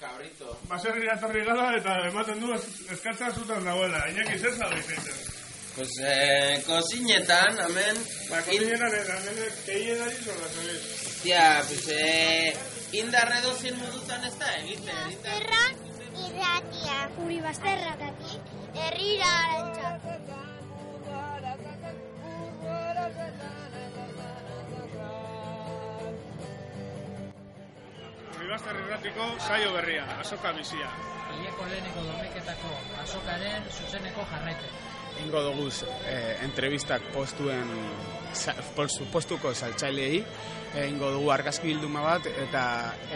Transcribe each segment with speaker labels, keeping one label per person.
Speaker 1: cabrito.
Speaker 2: Baserrira etorri gara eta ematen du ez- eskatzea zutan dagoela. Iñaki zer zabe izaiten.
Speaker 3: Pues, eh, kozinetan, hemen...
Speaker 2: Ba,
Speaker 3: in-
Speaker 2: kotineran eta hemen keien ari zorra zabe.
Speaker 3: Tia, pues, eh, indar edozein modutan ez da egiten. eh? indar-
Speaker 4: Basterra irratia. Uri basterra. Herrira arantzak.
Speaker 2: Ribazter irratiko saio berria, azoka bizia.
Speaker 5: Hileko leheneko domeketako azokaren zuzeneko jarraipen.
Speaker 6: Ingo doguz eh, entrevistak postuen sa- postu, postuko saltzailei egingo dugu argazki bilduma bat eta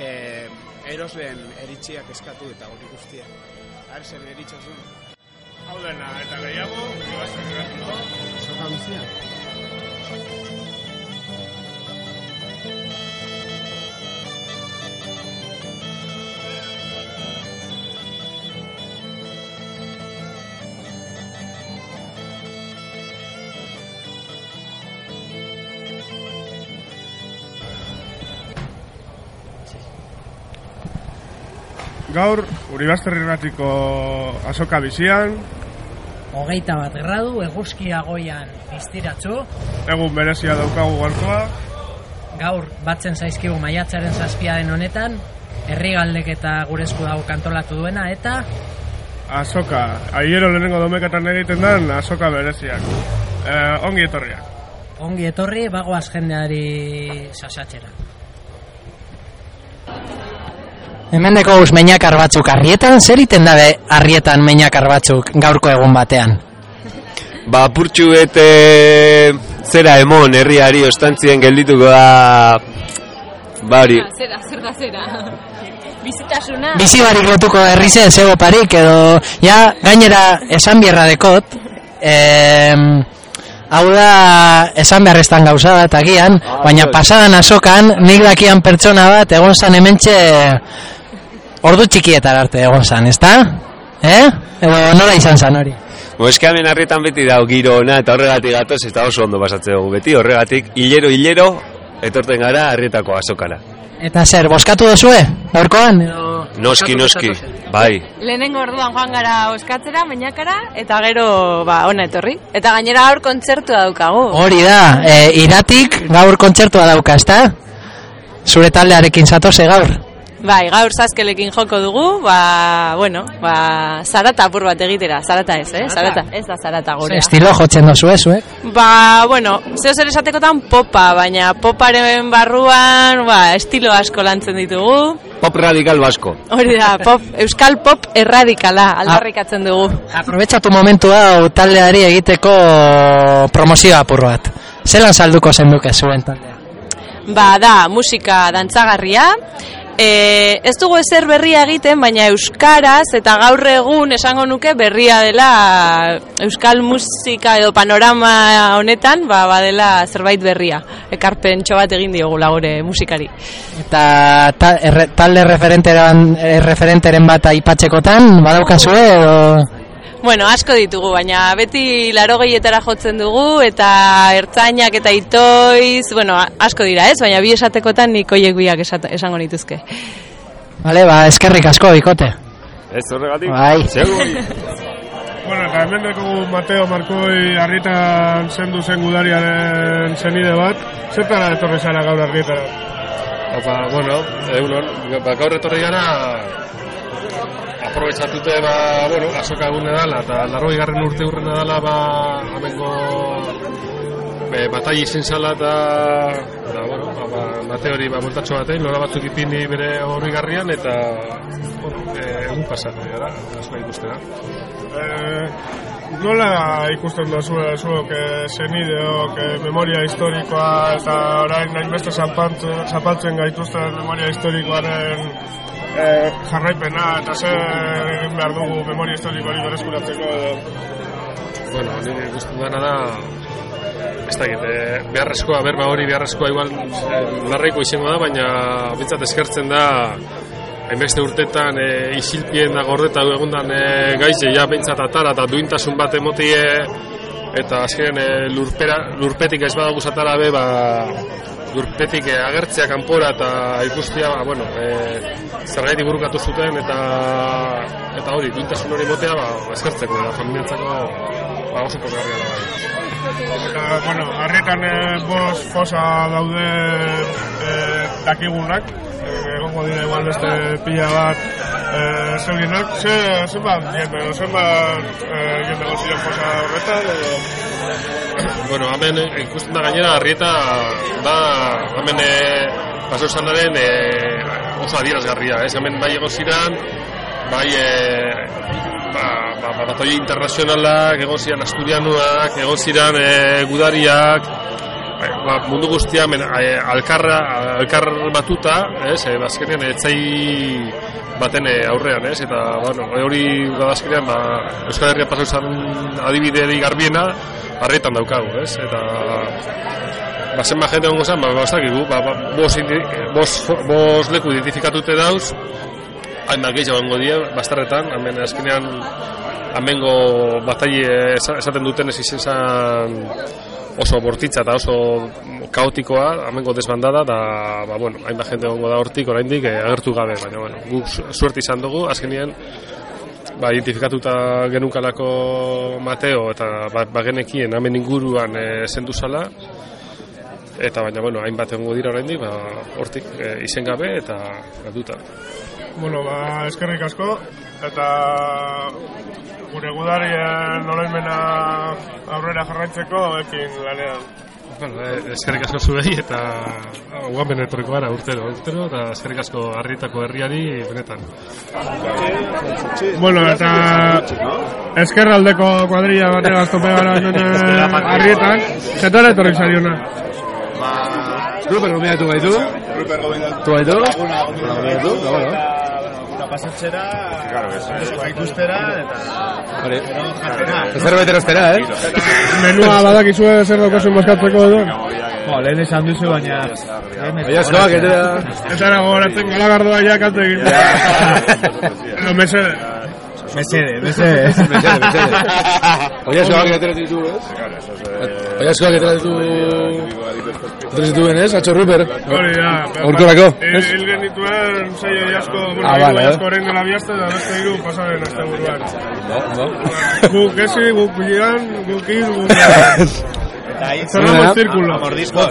Speaker 6: eh, erosleen eritziak eskatu eta hori guztia. Arzen eritzazun.
Speaker 2: Hau dena eta gehiago, ribazter irratiko.
Speaker 6: Zoka guztia.
Speaker 2: Gaur, Uribazter irratiko azoka bizian,
Speaker 5: Hogeita bat gradu, eguzkia goian iztiratzu,
Speaker 2: egun berezia daukagu gaurkoa,
Speaker 5: gaur batzen zaizkigu maiatzaren zazpia den honetan, herrigaldek eta gure esku dago kantolatu duena, eta
Speaker 2: azoka, aiero lehenengo domeketan egiten den azoka bereziak. Eh, ongi etorriak.
Speaker 5: ongi etorri bagoaz jendeari sasatxera. Hemendeko guz meinakar batzuk arrietan, zer iten dabe arrietan meinakar batzuk gaurko egun batean?
Speaker 7: Ba, purtsu bete zera emon herriari ostantzien geldituko da ba bari.
Speaker 8: Zera, zer da zera. Bizitasuna.
Speaker 5: Bizi barik lotuko herrize, zego parik, edo, ja, gainera, esan bierra dekot, em, hau da, esan beharreztan gauza da, eta gian,
Speaker 7: Ah,
Speaker 5: baina
Speaker 7: bai.
Speaker 5: pasadan azokan, nik dakian pertsona bat, egon zan hementxe, ordu txikietar arte egon zan, ezta? Eh? Edo, nola izan zan hori?
Speaker 7: Bo, eske hemen harrietan beti dago giro ona eta horregatik gatoz eta oso ondo pasatze dugu beti, horregatik hilero hilero etorten gara harrietako azokara.
Speaker 5: Eta zer, boskatu dozue, gaurkoan? Edo,
Speaker 7: Noski, noski, bai.
Speaker 8: Lehenengo orduan joan gara oskatzera, mainakara, eta gero, ba, ona etorri. Eta gainera hor kontzertua daukagu.
Speaker 5: Hori da, e, iratik gaur kontzertua dauka, ezta? Zure taldearekin zatoze gaur.
Speaker 8: Bai, gaur zazkelekin joko dugu, ba, bueno, ba, zarata apur bat egitera, zarata ez, eh? Zarata, ez da zarata
Speaker 5: Ze
Speaker 8: gurea.
Speaker 5: Estilo jotzen dozu ez, zuek?
Speaker 8: Ba, bueno, zeo zer esatekotan popa, baina poparen barruan, ba, estilo asko lantzen ditugu.
Speaker 7: Pop radikal basko.
Speaker 8: Hori da, pop, euskal pop erradikala,
Speaker 5: Ah.
Speaker 8: aldarrikatzen dugu.
Speaker 5: Aprobetxatu momentu hau taldeari egiteko promozioa apur bat. Zelan salduko zenduke zuen taldea?
Speaker 8: Ba, da, musika dantzagarria. E, ez dugu ezer berria egiten, baina euskaraz eta gaur egun esango nuke berria dela euskal musika edo panorama honetan, ba, badela zerbait berria. Ekarpen bat egin diogula gure musikari.
Speaker 5: Eta ta, erre, talde referenteren, eh, referenteren bat aipatzekotan, badaukazue edo...
Speaker 8: Bueno, asko ditugu, baina beti laro gehietara jotzen dugu, eta ertzainak eta itoiz, bueno, a- asko dira ez, baina bi esatekotan nik oiek biak esat, esango nituzke.
Speaker 5: Bale, ba, eskerrik asko, bikote.
Speaker 7: Ez horregatik?
Speaker 5: Bai.
Speaker 7: Segur.
Speaker 2: Bueno, eta hemen dugu Mateo Markoi harritan zendu zen gudariaren zenide bat. Zertara etorri zara gaur argitara?
Speaker 9: Opa, bueno, egunon, ba, gaur etorri gara aprobetsatute, ba, bueno, azoka egune dala, eta laro igarren urte urrena dala, ba, amengo be, batai izin zala, eta, eta, bueno, ba, ba, mate hori, ba, bultatxo batein, lora batzuk ipini bere hori garrian, eta, bueno, e, egun pasatu gara, asko ikustera.
Speaker 2: Eh, nola ikusten da zuen, zuok eh, zenideok eh, memoria historikoa eta orain hainbeste zapaltzen, zapaltzen gaituzten memoria historikoaren eh, jarraipena eta zer egin behar dugu memoria historikoari bereskuratzeko edo.
Speaker 9: Bueno, nire ikusten dana da, ez dakit, e, beharrezkoa, berba hori beharrezkoa igual e, larreiko izango da, baina bintzat eskertzen da, hainbeste urtetan e, isilpien da gordeta du egundan e, gaize, ja bintzat atara eta duintasun bat emotie, eh, eta azkenean e, lurpera, lurpetik ez badago zatara be, ba, Gurpetik eh, agertzea kanpora eta ikustia, ba, bueno, e, zergaitik burukatu zuten eta eta hori, duintasun hori motea, ba, eskertzeko, da, familiantzako ba, oso pozgarria da. Bai.
Speaker 2: Eta, bueno, harritan e, bos posa daude e, dakigunak, e, egongo dira igual beste pila bat e, zeuginak, ze, zenbat, jende, zenbat e, jende goziren posa horretan, edo...
Speaker 9: Bueno, hemen eh, ikusten da gainera harrieta da hemen eh paso sandaren eh oso adierazgarria, ez? Hemen bai egoziran, bai eh ba, ba, baratoi internazionalak, egoziran asturianoak, egoziran eh gudariak, bai, ba, mundu guztia hemen eh, alkarra alkar batuta, ez? Eh, azkenean etzai baten eh, aurrean, ez? Eta bueno, hori da azkenean ba Euskal Herria paso izan adibideri garbiena, harritan daukagu, ez? Eta ba zenba jende hongo zen, ba, ba, ez dakigu, ba, ba, bos, indi- bos, bos leku identifikatute dauz, hainbat gehiago hongo die, bastarretan, hemen azkenean, hemengo batai esaten dutenez izan zen oso bortitza eta oso kaotikoa, hemengo desbandada, da, ba, bueno, hainbat jende hongo da hortik, oraindik eh, agertu gabe, baina, bueno, guk su- suerte izan dugu, azkenean, ba, identifikatuta genukalako Mateo eta ba, bagenekien hemen inguruan e, zendu zala eta baina bueno, hainbat egongo dira oraindik, ba, hortik e, izen gabe eta galduta.
Speaker 2: Bueno, ba, eskerrik asko, eta gure gudarien oroimena aurrera jarraitzeko ekin lanean.
Speaker 9: Bueno, e, eskerrik asko zuei eta ah, guan benetorriko gara urtero, urtero eta eskerrik asko harrietako herriari benetan.
Speaker 2: Bueno, eta eskerraldeko kuadrilla batean aztope gara hemen arrietan, zetara etorrik zariona.
Speaker 3: Ba,
Speaker 1: Ruper gomendatu baitu. Tu baitu. Laguna gomendatu. Da, bueno. Hori. Zerbait erostera, eh?
Speaker 2: Menua badakizue zer daukazun bazkatzeko edo?
Speaker 10: Jo, lehen esan duzu, baina...
Speaker 1: Baina eskoak, etera.
Speaker 2: Ez ara gogoratzen galagardoa ja kalte egin. Lo mesede.
Speaker 10: Mesede, mesede.
Speaker 1: Mesede, mesede. Baina eskoak etera ditu, ez? Baina eskoak etera ditu... Etera zituen, ez? Atxo Ruper.
Speaker 2: Hori da. eh,
Speaker 1: Aurkorako,
Speaker 2: ez?
Speaker 1: ez?
Speaker 2: Hil genituen zei asko, bueno,
Speaker 1: Ah,
Speaker 2: hiru
Speaker 1: vale,
Speaker 2: asko
Speaker 1: eh.
Speaker 2: horrengo labiazte da beste hiru pasaren azte buruan.
Speaker 1: No, no.
Speaker 2: Guk esi, guk bilan, guk hil, guk... Cerramos el círculo.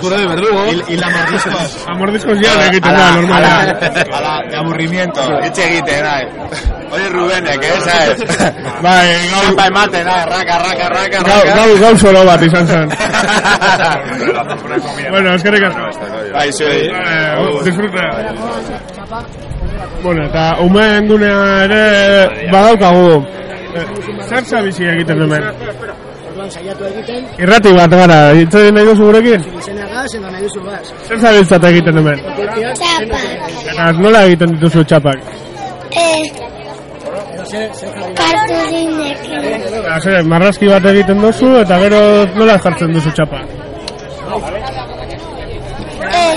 Speaker 1: Jura de verdugo.
Speaker 10: Y la mordiscos.
Speaker 2: Amordizkoz jan egiten da, normala.
Speaker 10: Ala, de aburrimiento. Etxe egiten, bai. nahi. Hori Rubenek, eh, sabes?
Speaker 2: Bai,
Speaker 10: Kampa ematen, nahi, raka, raka, raka,
Speaker 2: gau,
Speaker 10: raka.
Speaker 2: gau, gau solo bat izan zen. bueno, eskerrik asko.
Speaker 10: Bai, zuei.
Speaker 2: Eh, disfruta. Bueno, eta umeen gunea ere badaukagu. Eh, Zer zabizi egiten hemen?
Speaker 11: Orduan saiatu egiten,
Speaker 2: Irrati bat gara, itzegin nahi duzu gurekin?
Speaker 11: izena gaz, edo nahi duzu gaz.
Speaker 2: Zer zabiltzat egiten hemen?
Speaker 11: Kopiak,
Speaker 4: Txapak.
Speaker 2: Eta nola egiten dituzu txapak?
Speaker 4: Eh,
Speaker 11: edo zer, zer jarri behar.
Speaker 4: kartu dinekin.
Speaker 2: Eta zer, Ba, marrazki bat egiten duzu eta gero nola jartzen duzu txapak?
Speaker 4: Eh,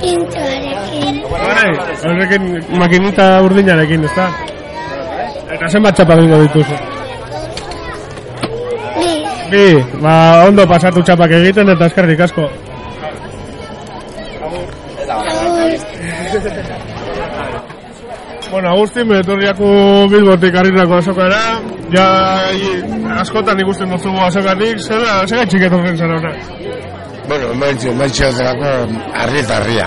Speaker 4: pintuarekin.
Speaker 2: Bai, horrekin makinita urdinarekin, ezta? Eta zenbat txapak egingo dituzu?
Speaker 4: Bi.
Speaker 2: Bi, ba, ondo pasatu txapak egiten eta eskerrik asko.
Speaker 4: Agur.
Speaker 2: Bueno, Agustin, betorriako bilbotik harrirako azokara, ja i- askotan ikusten duzugu azokatik, zera, zera txiketorren zara ona.
Speaker 1: Bueno, maitxo, maitxo zelako arri eta arria.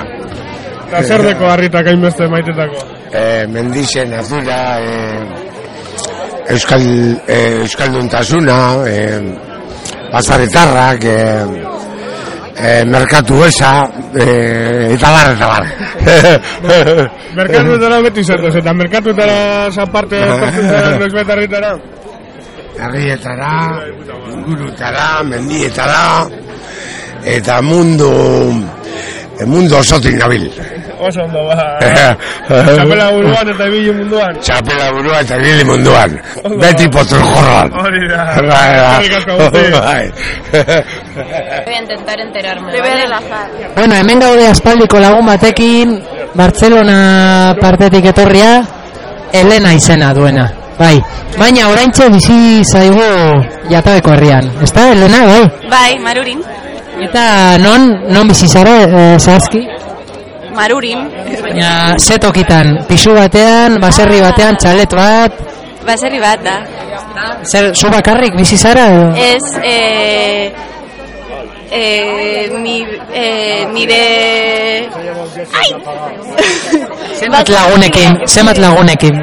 Speaker 2: Eta zer deko harritak hainbeste maitetako.
Speaker 1: E, mendixen azura, e, euskal, e, euskalduntasuna, e, bazarretarrak, e, e, merkatu eza, e, eta bar, eta bar.
Speaker 2: Merkatuetara beti zertuz, eta merkatuetara zaparte etortzen zara noiz betarritara.
Speaker 1: Herrietara, ingurutara, mendietara, eta mundu, mundu osotik nabil.
Speaker 2: Oso ondo, ba. Txapela buruan eta ibili munduan.
Speaker 1: Txapela burua eta nili munduan. Beti potur jorran.
Speaker 2: Hori da. Eskerrik asko, Agustin.
Speaker 1: Bai,
Speaker 8: Voy a intentar enterarme.
Speaker 5: Bueno, hemen gaude aspaldiko lagun batekin, Bartzelona partetik etorria, Elena izena duena. Bai, baina oraintxe bizi zaigu jatabeko herrian. Ezta, Elena, bai?
Speaker 8: Bai, marurin.
Speaker 5: Eta non, non bizi zara, eh, zehazki?
Speaker 12: Marurin.
Speaker 5: Baina, ze tokitan, pisu batean, baserri batean, txalet bat,
Speaker 12: Baserri bat da.
Speaker 5: zer, zu bakarrik bizi zara? edo?
Speaker 12: Ez, eh, eh, ni, eh, nire... Ai!
Speaker 5: Zenbat lagunekin, zenbat lagunekin.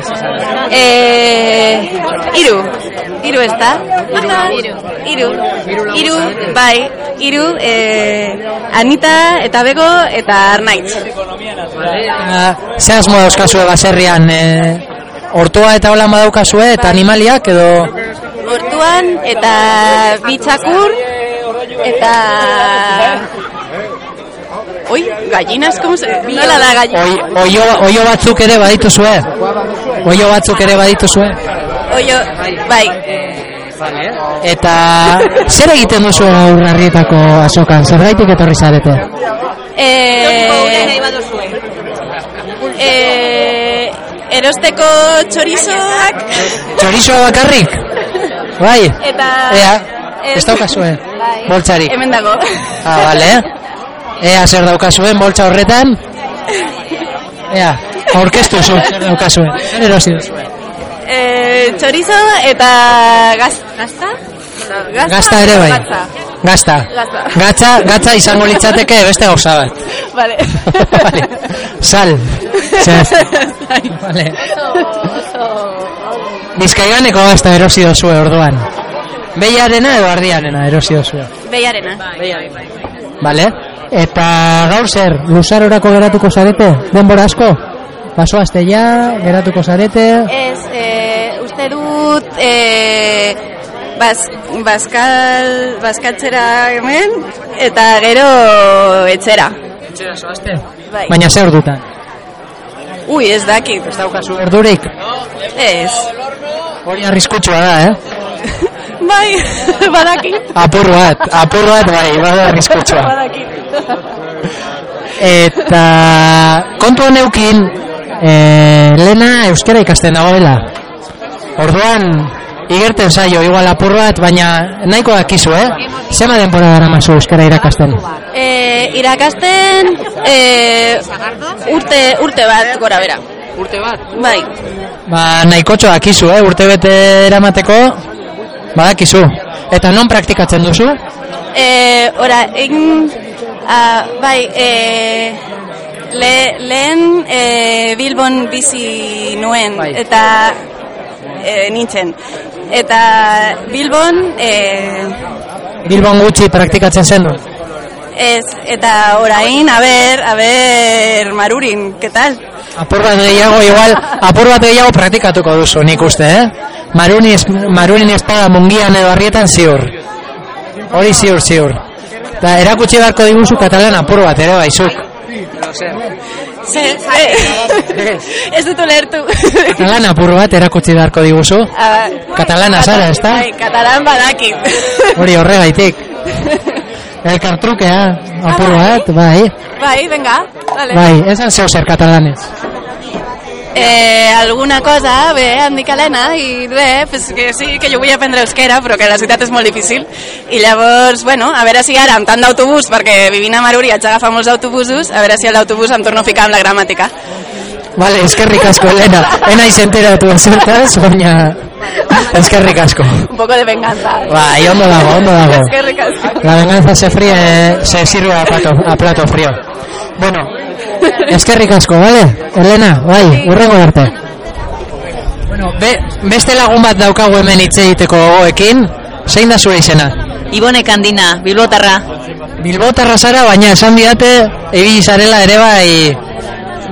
Speaker 12: Eh, iru. Iru ez da? Iru. Iru. Iru, bai. Iru, eh, Anita, eta Bego, eta Arnaitz.
Speaker 5: Eta, Ze asmo dauzkazue baserrian, eh, hortua eta holan badaukazue, eta animaliak edo...
Speaker 12: Hortuan, eta bitzakur, eta... Oi, gallinas, como se... Nola da
Speaker 5: Oi,
Speaker 12: gallina?
Speaker 5: oio, oio batzuk ere badituzue. Oio batzuk ere badituzue.
Speaker 12: Oio, bai.
Speaker 5: Eta zer egiten duzu gaur harrietako azokan? Zergaitik etorri zarete?
Speaker 12: Eh, eh, erosteko txorizoak
Speaker 5: Txorizo bakarrik? Bai?
Speaker 12: eta... bai.
Speaker 5: Ea, ez daukazue? Boltsarik?
Speaker 12: Hemen dago.
Speaker 5: Ah, bale. Ea zer daukazuen boltsa horretan? Ea, aurkeztu zu zer daukazuen. Zer erosi duzue?
Speaker 12: Eh, chorizo eta gaz, gazta? Gazta,
Speaker 5: Gazta ere bai.
Speaker 12: Gazta.
Speaker 5: Gazta.
Speaker 12: Gazta.
Speaker 5: Gatza, gatza izango litzateke beste gauza bat.
Speaker 12: Vale.
Speaker 5: Vale. Sal. Zer. Vale. Bizkaiganeko gazta erosi dozue orduan. Beiarena edo ardiarena erosi dozue.
Speaker 12: Beiarena. Beiarena.
Speaker 5: Vale? Eta gaur zer, luzarorako geratuko zarete? Denbora asko? Baso ja, geratuko zarete?
Speaker 12: Ez, eh, uste dut, eh, bas, baskal, baskatzera hemen, eta gero etxera.
Speaker 5: Etxera soazte?
Speaker 12: Bai.
Speaker 5: Baina zer dutan?
Speaker 12: Ui, ez dakit. Ez daukazu
Speaker 5: Erdurik?
Speaker 12: Ez.
Speaker 5: Hori arriskutsua da, eh?
Speaker 12: Bai, badakit.
Speaker 5: Apur bat, apur bat bai, bada arriskutsua. Eta kontua neukin e, Lena euskara ikasten dagoela Orduan Igerten zaio, igual apur bat, baina nahiko dakizu, eh? Zema denbora dara mazu euskara irakasten?
Speaker 12: Eh, irakasten eh, urte, urte bat gora bera. Urte bat? Bai.
Speaker 5: Ba, nahikotxo dakizu, eh? Urte bete eramateko, badakizu. Eta non praktikatzen duzu?
Speaker 12: Eh, ora, egin, ah, bai, eh, le, lehen eh, Bilbon bizi nuen,
Speaker 5: Bai.
Speaker 12: eta eh, nintzen. Eta Bilbon, eh,
Speaker 5: Bilbon gutxi praktikatzen zen du.
Speaker 12: ez, eta orain, a ber, a ber, marurin, que tal?
Speaker 5: Apur bat gehiago, igual, apur bat gehiago praktikatuko duzu, nik uste, eh? Maruni, es, marunin espada mungian edo arrietan ziur. Hori ziur, ziur. Da, erakutsi beharko diguzu katalan apur bat, ere bai, baizuk.
Speaker 12: Ze- ze- eh, ez dut ulertu.
Speaker 5: Katalan apur bat erakutsi beharko diguzu.
Speaker 12: Ah,
Speaker 5: Katalana zara, ezta?
Speaker 12: Bai, katalan badakit.
Speaker 5: Hori horregaitik. Elkartrukea, apur bat, bai.
Speaker 12: Bai, venga, dale.
Speaker 5: Bai, esan zeu zer katalanez.
Speaker 12: Eh, alguna cosa, ve, Andy Calena, y ve, pues que sí, que yo voy a aprender euskera, pero que la ciutat és molt difícil. I llavors, bueno, a veure si ara, amb tant d'autobús, perquè vivint a Maruri haig d'agafar molts autobusos, a veure si a l'autobús em torno a ficar amb la gramàtica.
Speaker 5: Vale, eskerrik asko, Elena. Ena izenteratu zertaz, baina eskerrik asko.
Speaker 12: Un poco de venganza.
Speaker 5: Bai, ondo dago, ondo dago.
Speaker 12: Eskerrik asko.
Speaker 5: La venganza se fríe, se sirve a plato, a plato frío. Bueno, eskerrik asko, vale? Elena, bai, urrengo arte. Bueno, be, beste lagun bat daukagu hemen hitz egiteko gogoekin, zein da zure izena?
Speaker 13: Ibone Kandina, Bilbotarra.
Speaker 5: Bilbotarra zara, baina esan didate, ibili zarela ere bai,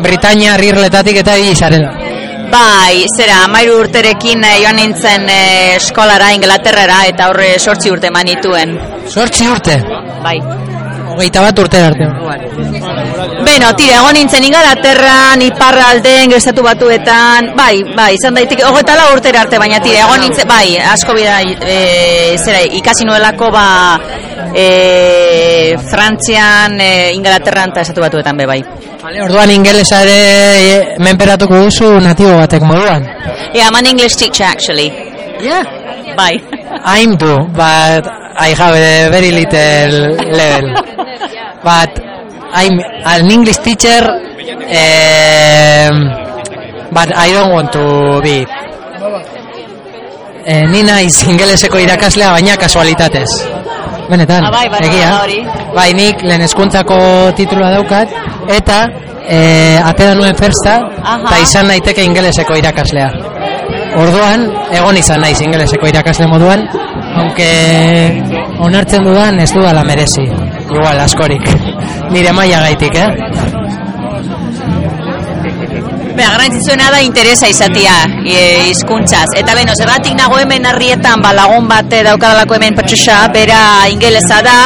Speaker 5: Britania irletatik eta ibili zarela.
Speaker 13: Bai, zera, amairu urterekin eh, joan nintzen eh, eskolara, Inglaterrara, eta horre sortzi urte eman nituen.
Speaker 5: Sortzi urte,
Speaker 13: Bai.
Speaker 5: hogeita bat urte arte.
Speaker 13: Beno, tira, egon nintzen Ingalaterran, Iparralden, Estatu Batuetan, bai, bai, izan daiteke, hogeita lau urtera arte, baina tira, egon nintzen, bai, asko bida, e, zera, ikasi nuelako, ba, e, Frantzian, e, Ingalaterran eta Estatu Batuetan, be, bai.
Speaker 5: Vale, Orduan ingelesa ere e, menperatuko duzu natibo batek moduan.
Speaker 13: Yeah, I'm an English teacher, actually.
Speaker 5: Yeah?
Speaker 13: Bai.
Speaker 5: I'm do, but I have a very little level. But I'm an English teacher, um, but I don't want to be. Eh, ni naiz ingeleseko irakaslea, baina kasualitatez. Benetan,
Speaker 13: Ah, bai, bai,
Speaker 5: egia.
Speaker 13: bai, hori.
Speaker 5: Bai, nik lehen hezkuntzako titulua daukat, eta eh, atera nuen fersta,
Speaker 13: Aha.
Speaker 5: eta izan naiteke ingeleseko irakaslea. Orduan, egon izan naiz ingeleseko irakasle moduan, aunque onartzen dudan ez dudala merezi, igual askorik, nire maila gaitik, eh?
Speaker 13: Bea, garrantzitsuena da interesa izatia e, hizkuntzaz. Eta beno, zergatik nago hemen harrietan ba, lagun bat eh, daukadalako hemen patxuxa, bera ingelesa da,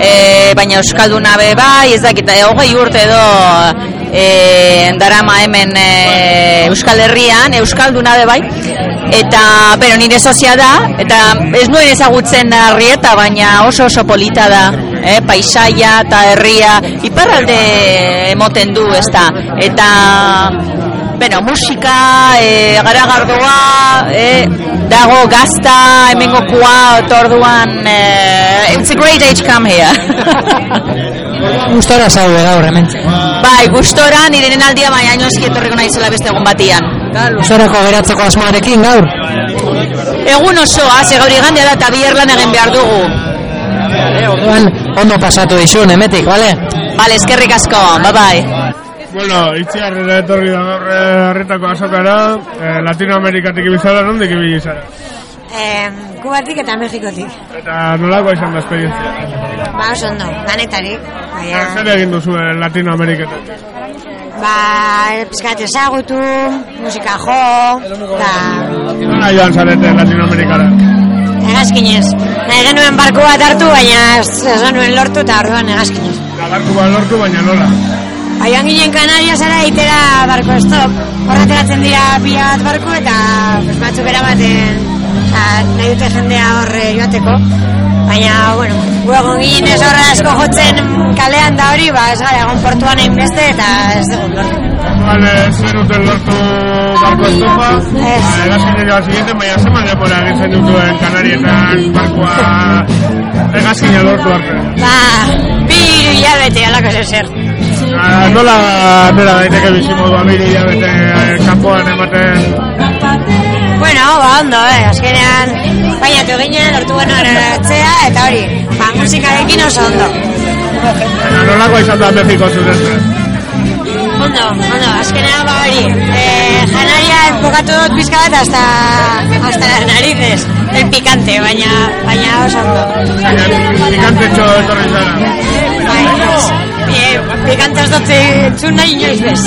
Speaker 13: e, baina euskalduna be bai, ez dakit, eh, hogei urte edo e, darama hemen e, Euskal Herrian, euskalduna be bai, eta bero nire sozia da, eta ez nuen ezagutzen harrieta, baina oso oso polita da. Eh, paisaia eta herria iparralde emoten du, ezta. Eta Beno, musika, e, garagardoa, e, dago gazta, hemengo kua, eta orduan, e, it's a great age come here.
Speaker 5: Gustora zaude gaur hemen.
Speaker 13: bai, gustora, nire aldia baina inoski etorriko naizela beste egun batian.
Speaker 5: Gustorako geratzeko asmoarekin gaur.
Speaker 13: Egun osoa, ze gaur igandea da eta bihar lan egin behar dugu.
Speaker 5: Orduan, ondo pasatu dizun, hemetik, bale?
Speaker 13: Bale, eskerrik asko, bye bye.
Speaker 2: Bueno, itziarrera etorri da gaur eh, harritako azokara, eh, Latinoamerikatik ibizara, nondik ibili zara?
Speaker 14: Eh, Kubatik eta Mexikotik.
Speaker 2: Eta nolakoa izan da esperientzia?
Speaker 14: Ba, oso ondo, danetarik. Baina,
Speaker 2: Zer egin duzu eh, Latinoameriketan?
Speaker 14: ba, pizkat ezagutu, musika jo, eta
Speaker 2: Nola joan zarete Latinoamerikara?
Speaker 14: hegazkinez. Nahi genuen barku bat hartu, baina ez ez genuen lortu eta orduan hegazkinez.
Speaker 2: Eta barku bat lortu, baina nola?
Speaker 14: Ba, joan ginen Kanariasara itera barko estop. Horreteratzen dira pila bat barku eta pues, batzuk eramaten oza, nahi dute jendea horre joateko. Baina, bueno, gu egon ginen ez horra asko jotzen kalean da hori, ba, ez gara egon portuan egin beste eta ez dugu lortu.
Speaker 2: Vale, zer duten lortu barko estopa? Ez. Egazkinen joan zigiten, baina zeman denbora egin zen dutuen Kanarietan barkoa egazkinen lortu arte.
Speaker 14: Ba, bi hiru hilabete alako zer zer.
Speaker 2: Ah, Nola atera daiteke bizimodua bire hilabete eh, kanpoan ematen
Speaker 14: Bueno, ba, ondo, eh, azkenean, baina tu ginen, lortu genuen atzea, eta hori, ba, musikarekin oso ondo.
Speaker 2: Baina nolakoa izan da Mexiko zuretzen?
Speaker 14: Ondo, ondo, azkenean, ba, hori, eh, janaria enfokatu dut pizka bat hasta, hasta las narices, el picante, baina, baina oso ondo.
Speaker 2: Pikante txo etorri zara.
Speaker 14: Baina, pikante Bai, ez dut txun nahi inoiz bez.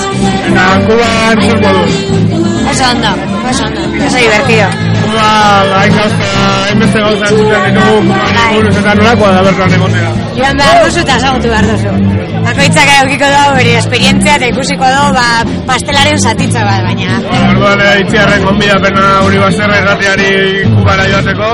Speaker 2: Eta Kuban zer moduz?
Speaker 14: Oso ondo, oso ondo, oso divertido.
Speaker 2: Kuba hain gauza, hainbeste gauza entzuten ditugu Kubari buruz eta nolakoa da bertan egotea.
Speaker 14: Joan behar duzu eta ezagutu behar duzu. Bakoitzak edukiko da hori esperientzia eta ikusiko du ba, pastelaren satitza bat, baina...
Speaker 2: Orduan eh, itziarren gonbidapena Uri Basterra irratiari Kubara joateko.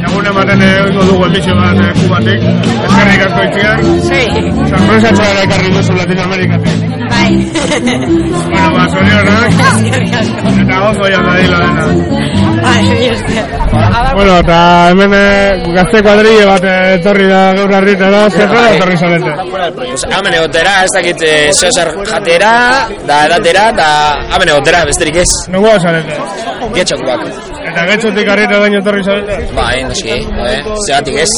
Speaker 2: Egun ematen egingo dugu emisio bat eh, Kubatik. Eskerrik asko itziar.
Speaker 14: Sí.
Speaker 2: Sorpresa txora ekarri duzu Latinoamerikatik. Bueno, ba, zorionak. Eta gozo joan dadila dena. Bueno, eta hemen eh, gazte kuadrille bat eh, etorri da gaur harritara, zerra da etorri zarete.
Speaker 15: Pues, hamen egotera, ez dakit eh, zeo zer jatera, da edatera, da hamen egotera, besterik ez.
Speaker 2: Nongoa zarete.
Speaker 15: Getxokuak.
Speaker 2: Eta getxotik harrita baino etorri zarete.
Speaker 3: Ba.
Speaker 15: Bai, noski, eh, zegatik ez.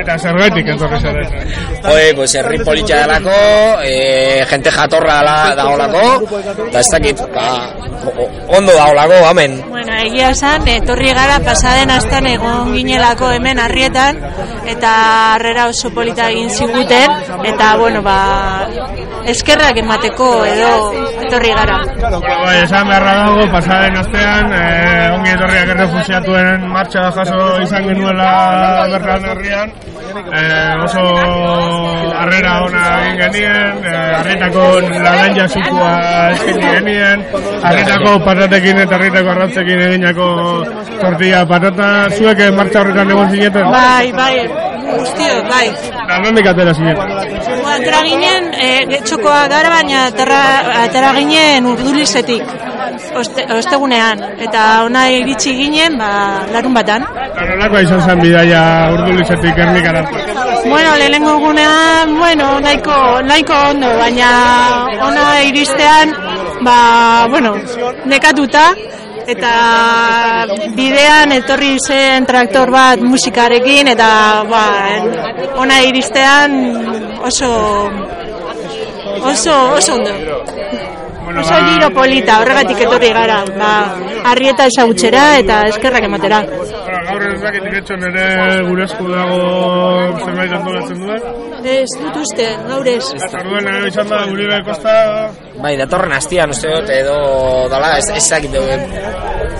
Speaker 2: Eta zergaitik etorri zarete.
Speaker 15: Oe, pues, herri politxa delako, eh, jente jatorra da daolako, eta ez dakit, ba, o- o- ondo daolako, hamen.
Speaker 16: Bueno, egia esan, etorri gara pasaden astean egon ginelako hemen harrietan eta harrera oso polita egin ziguten eta bueno, ba eskerrak emateko edo etorri gara.
Speaker 2: Bai, esan beharra dago, pasaren astean, eh, ongi etorriak errefusiatuen martxa jaso izan genuela bertan herrian. Eh, oso harrera ona egin genien, eh, harritako lalan jasukua eskaini genien, harritako patatekin eta harritako arratzekin eginako tortilla patata, zuek eh, martxa horretan egon zineten?
Speaker 16: Bai, bai, guztiok, bai.
Speaker 2: Eta nondik atera zineten?
Speaker 16: Ba, eh, Atera ginen, e, getxokoa gara, baina atera, atera ginen urdulizetik. oste, ostegunean, eta ona iritsi ginen, ba, larun batan.
Speaker 2: Eta nolakoa izan zen bidaia urdulizetik ernikara?
Speaker 16: Bueno, lehenengo egunean, bueno, nahiko, nahiko ondo, baina ona iristean, ba, bueno, nekatuta, eta bidean etorri zen traktor bat musikarekin, eta ba, ona iristean oso, oso, oso ondo. Oso giro polita, horregatik etorri gara, ba, arrieta ezagutzera eta eskerrak ematera.
Speaker 2: Gaur ez dakit iretxon ere gure esku dago zerbait antolatzen duen.
Speaker 16: Ez dut uste, gaur ez.
Speaker 2: Orduan ere izan da guri bai kosta
Speaker 15: Bai, datorren hastian uste dut edo dala ez ezakit dugu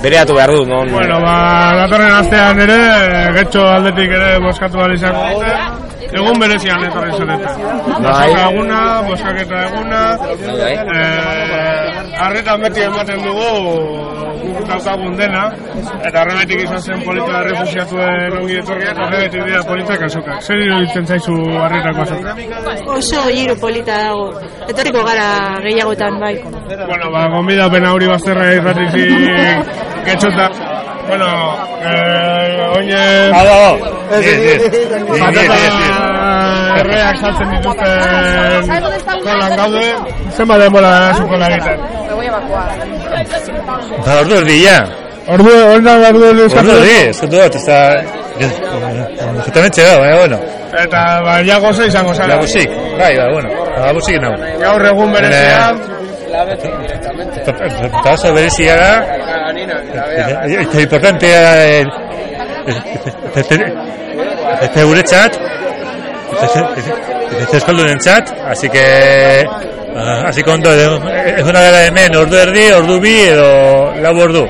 Speaker 15: bereatu behar du, non?
Speaker 2: Bueno, ba, datorren astean ere, getxo aldetik ere boskatu behar izango dute. Egun berezian etorri zarete.
Speaker 15: Bai.
Speaker 2: Boskaka eguna, boskaketa eguna, eh, harritan beti ematen dugu guk daukagun dena, eta horregatik izan zen polita errefusiatuen ongi etorria, eta horregatik dira Ba, polita kasokak. Zer iruditzen zaizu harritako azoka?
Speaker 16: Oso giro polita dago. Etorriko gara gehiagotan, bai.
Speaker 2: Bueno, ba, gomida pena hori bazterra irratizik getxota. Bueno, eh, oine...
Speaker 17: Hala, ez, ez, ez.
Speaker 2: Patata erreak saltzen dituzten kolan gaude. Zenba denbora da zu kola egiten.
Speaker 17: Eta ordu erdi, ja.
Speaker 2: Ordu, hori da ordu erdi
Speaker 17: Ordu
Speaker 2: eskatu
Speaker 17: erdi,
Speaker 2: duzu.
Speaker 17: eskatu dut, ez da... Zetan etxe da, baina, bueno.
Speaker 2: Eta, ba, ja gozo izango zara.
Speaker 17: Lagusik, bai, ba, bueno. Lagusik nago.
Speaker 2: Gaur egun berezia.
Speaker 17: Eta eta oso berezia da... Eta eta importantea da... eh, eta- eta- Eta guretzat... eh, eta- eta- Eta eskaldunen txat, así que... ah, Así que ondo, eh, ez una gara hemen, ordu erdi, ordu bi, edo lau ordu.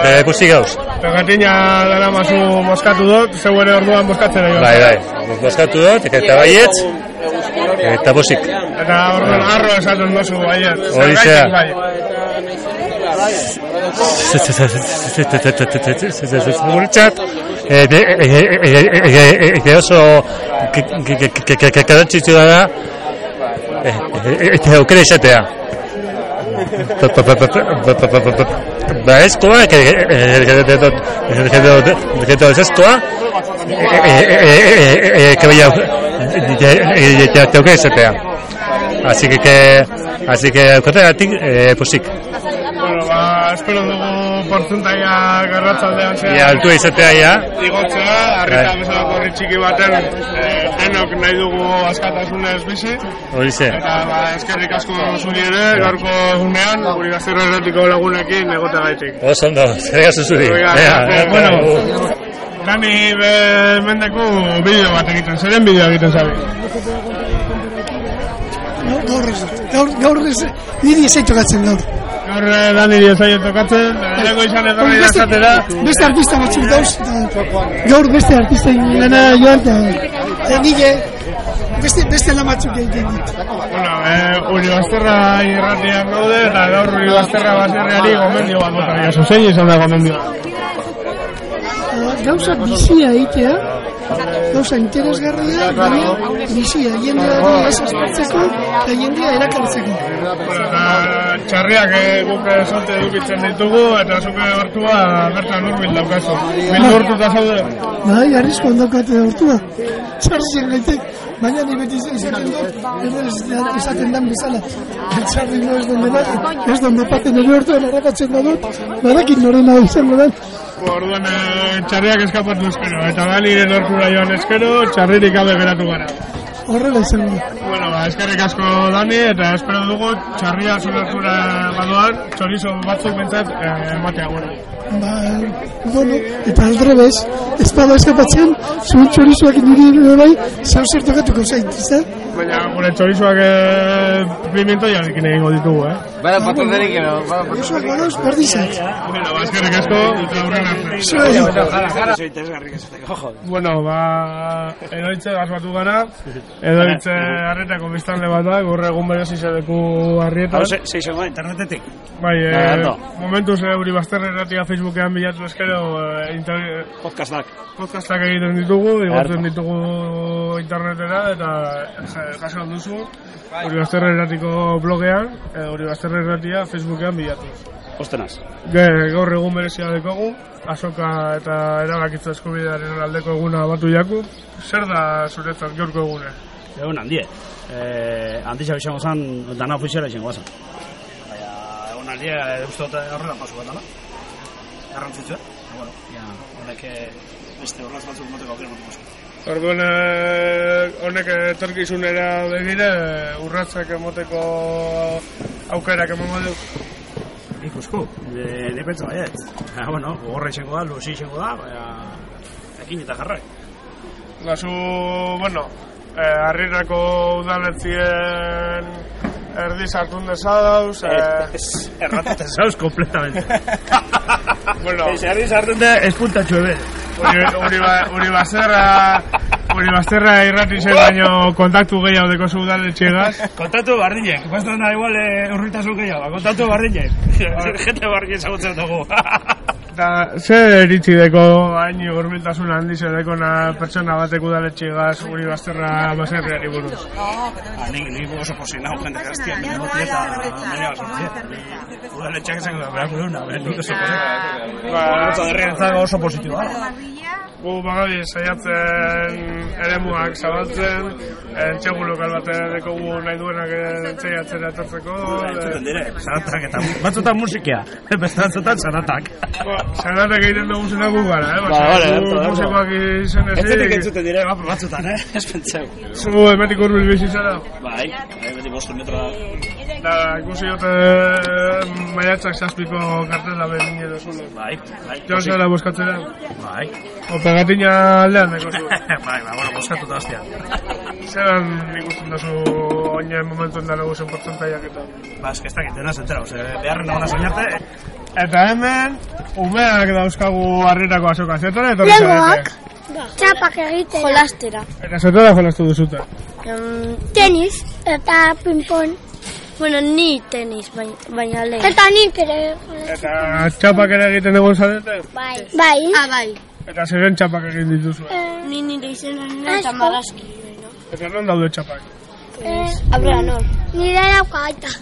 Speaker 17: Eta ikusi gauz.
Speaker 2: Eta gatina dara mazu moskatu dut, zeu ere orduan moskatzen ari.
Speaker 17: Bai, bai, bozkatu dut, eta baietz, eta bosik.
Speaker 2: Eta orduan arro esaten duzu, baiet.
Speaker 17: Hori zea.
Speaker 2: Zergaitik bai.
Speaker 17: Guretzat, eta oso karantzitzu da da, eta aukera izatea. Ba ezkoa, eta ezkoa, eta aukera izatea. Así que, así que, aukera eh, posik.
Speaker 2: Bueno, ba, espero dugu portzentaia garratzaldean zehar.
Speaker 17: Ia, altua izatea, ia.
Speaker 2: Igotzea, harrita
Speaker 17: Bai.
Speaker 2: bezalako herri txiki baten, eh, denok nahi dugu askatasunez bizi.
Speaker 17: Horixe.
Speaker 2: Eta, ba, eskerrik asko zuri ere, gaurko egunean, guri gazterra erratiko lagunekin egote gaitik.
Speaker 17: Oso ondo, eskerrik asko zuri.
Speaker 2: Oiga, eh,
Speaker 17: Ea, ea,
Speaker 2: bueno, Dani, be, mendeko bideo bat egiten, zeren bideo egiten zabe?
Speaker 11: Gaur ez, gaur, gaur ez, niri ez tokatzen gaur.
Speaker 2: Gaur eh, Dani diezaio tokatzen, lehenengo izan etorri da
Speaker 11: Beste-
Speaker 2: esatera.
Speaker 11: Beste artista batzuk dauz, eta gaur beste artista lana joan, eta egile, beste, beste lan batzuk egiten dit.
Speaker 2: Eh, Uri Bazterra irratian gaude, eta gaur Uri Bazterra baserriari gomendio bat bota diozu. Zein izan da gomendio?
Speaker 11: Eh, Gauza bizia egitea, gauza interesgarria, baina bizia, jendea ez aspertzeko, eta jendea erakartzeko.
Speaker 2: Txarriak eh, guk esote edukitzen ditugu, eta zuke hortua bertan urbil daukazu. Bildurtuta zaude.
Speaker 11: Bai, arrisko ondokate hortua. Txarrien gaitek, baina ni beti izaten dut, ero ez da- izaten dan bezala. Txarri no ez den dena, ez den depaten ere hortuan harrapatzen da dut, badakit norena izango den.
Speaker 2: Orduan, eh, txarriak eskapatu eskero, eta Daniren hortura joan eskero, txarririk gabe geratu gara.
Speaker 11: Horrela izango.
Speaker 2: Bueno, ba, eskerrik asko Dani, eta espero dugu txarria zulertura badoan, txorizo batzuk bentzat eh, ematea gure.
Speaker 11: Ba, bueno, eta aldrebez, ez bada eskapatzen, zuen txorizuak niri ere bai, zau zer tokatuko zain, ez da?
Speaker 2: Baina gure txorizoak eh, pimentoiarekin egingo ditugu, eh?
Speaker 11: Bada, pataterik, bada, pataterik. Gauz, berdizak.
Speaker 2: Bueno, ba, eskerrik asko, eta aurrera arte.
Speaker 11: Zuei.
Speaker 2: Oso interesgarri esateko, jo. Bueno, ba, edoitze gazbatu gara, edoitze harretako biztanle bat da, gaur egun berez izateku harrietan.
Speaker 18: Hau, ze- ze izango da, internetetik.
Speaker 2: Bai,
Speaker 18: Nada,
Speaker 2: eh,
Speaker 18: no.
Speaker 2: momentuz euri bazterra erratia Facebookean bilatu eskero eh, inter... podcastak. egiten ditugu, igotzen ditugu internetera, eta ja, eh, jaso duzu, hori bazterra erratiko blogean, eh, hori bazterra erratia Facebookean bilatu.
Speaker 18: Ostenaz.
Speaker 2: Ge- Gaur egun berezia dekogu, azoka eta erabakitza eskubidearen aldeko eguna batu jaku. Zer da zuretzat gaurko egune?
Speaker 18: Egun handie. Eh, handixak izango zen, dana ofiziala izango zen. Baina, egun handie, Ba, eh, uste dut horrela pasu bat dala. Garrantzitsua. Eta, Bueno, ja, horrek eh, beste horrelaz batzuk moteko aukera moteko
Speaker 2: Orduan, eh, honek etorkizunera begire, urratzak emoteko aukerak emango du.
Speaker 18: Nik usko, de, de pentsa baiet. Ja, bueno, gorra izango da, luzi izango da, baina... Ekin eta jarrai.
Speaker 2: Gazu, Ba, bueno, eh, harrirako udaletzien erdi sartun desadauz. Eh,
Speaker 18: Erratetan zauz, kompletamente.
Speaker 2: bueno, ba,
Speaker 18: Ez herri sartun da, espuntatxo ebe.
Speaker 2: Uri-
Speaker 18: ba,
Speaker 2: Uriba- Uribazterra
Speaker 18: eh,
Speaker 2: Uribazterra irrati zen baino kontaktu gehiago deko zu udaletxegaz.
Speaker 18: Kontatu bardinek, bastan Ba, da igual eh, urritasun gehiago, kontatu bardinek. Jete bardinek ezagutzen dugu.
Speaker 2: Da,
Speaker 18: eh,
Speaker 2: zer iritzi deko hain urbiltasun handiz edeko na pertsona batek udaletxegaz Uribazterra baserriari buruz.
Speaker 18: Ah, ni, ni oso posi nago jende gaztia, ni nago tieta, baina oso posi. Udaletxeak esango da, berak uruna, berak nik oso posi. Ba, Hortza derrien zago oso positiba.
Speaker 2: Gu bagabi saiatzen eremuak zabaltzen, entxegu lokal batean dekogu nahi duenak eh, entxeiatzen atortzeko.
Speaker 18: Entzuten dire, zanatak eta batzutan musikia, beste batzutan zanatak.
Speaker 2: Zanatak Ba, egiten dugu zena gu gara, eh?
Speaker 18: Ba, bale,
Speaker 2: Gu
Speaker 18: ondo, ondo.
Speaker 2: Musikoak izan ezik.
Speaker 18: Entzutik entzuten dire, bat- batzutan, eh? Ez pentsau.
Speaker 2: Zu emetik urbil bizi zara?
Speaker 18: Bai, bai, beti bostu metra da.
Speaker 2: Da, ikusi jote maiatzak zazpiko kartela behin edo zulu.
Speaker 18: Bai, bai.
Speaker 2: Joan zara boskatzera?
Speaker 18: Bai.
Speaker 2: Operatina aldean deko zu.
Speaker 18: Bai, ba, bueno, boskatuta hostia.
Speaker 2: Zeran ikusten duzu oinen momentuen da nagusen portzentaiak eta.
Speaker 18: Ba, eske ez dakit, dena zentera, ose, beharren dagoena soñarte.
Speaker 2: Eta hemen, umeak dauzkagu harrirako azoka. Zertara etorri
Speaker 4: Legoak,
Speaker 2: zarete?
Speaker 4: txapak egiten. Ba. Jolastera.
Speaker 2: Eta zertara jolastu duzuta?
Speaker 4: Tenis eta pinpon. Bueno, ni tenis, baina lehen. Eta nik ere.
Speaker 2: Eta txapak ere egiten egon zarete?
Speaker 4: Bai. Bai. Eh. Ah, bai.
Speaker 2: Eta zeren txapak egin dituzu?
Speaker 4: Ni nire izena nena eta magazki.
Speaker 2: Eta non daude txapak?
Speaker 4: Abra, nor. Nire dauka aita.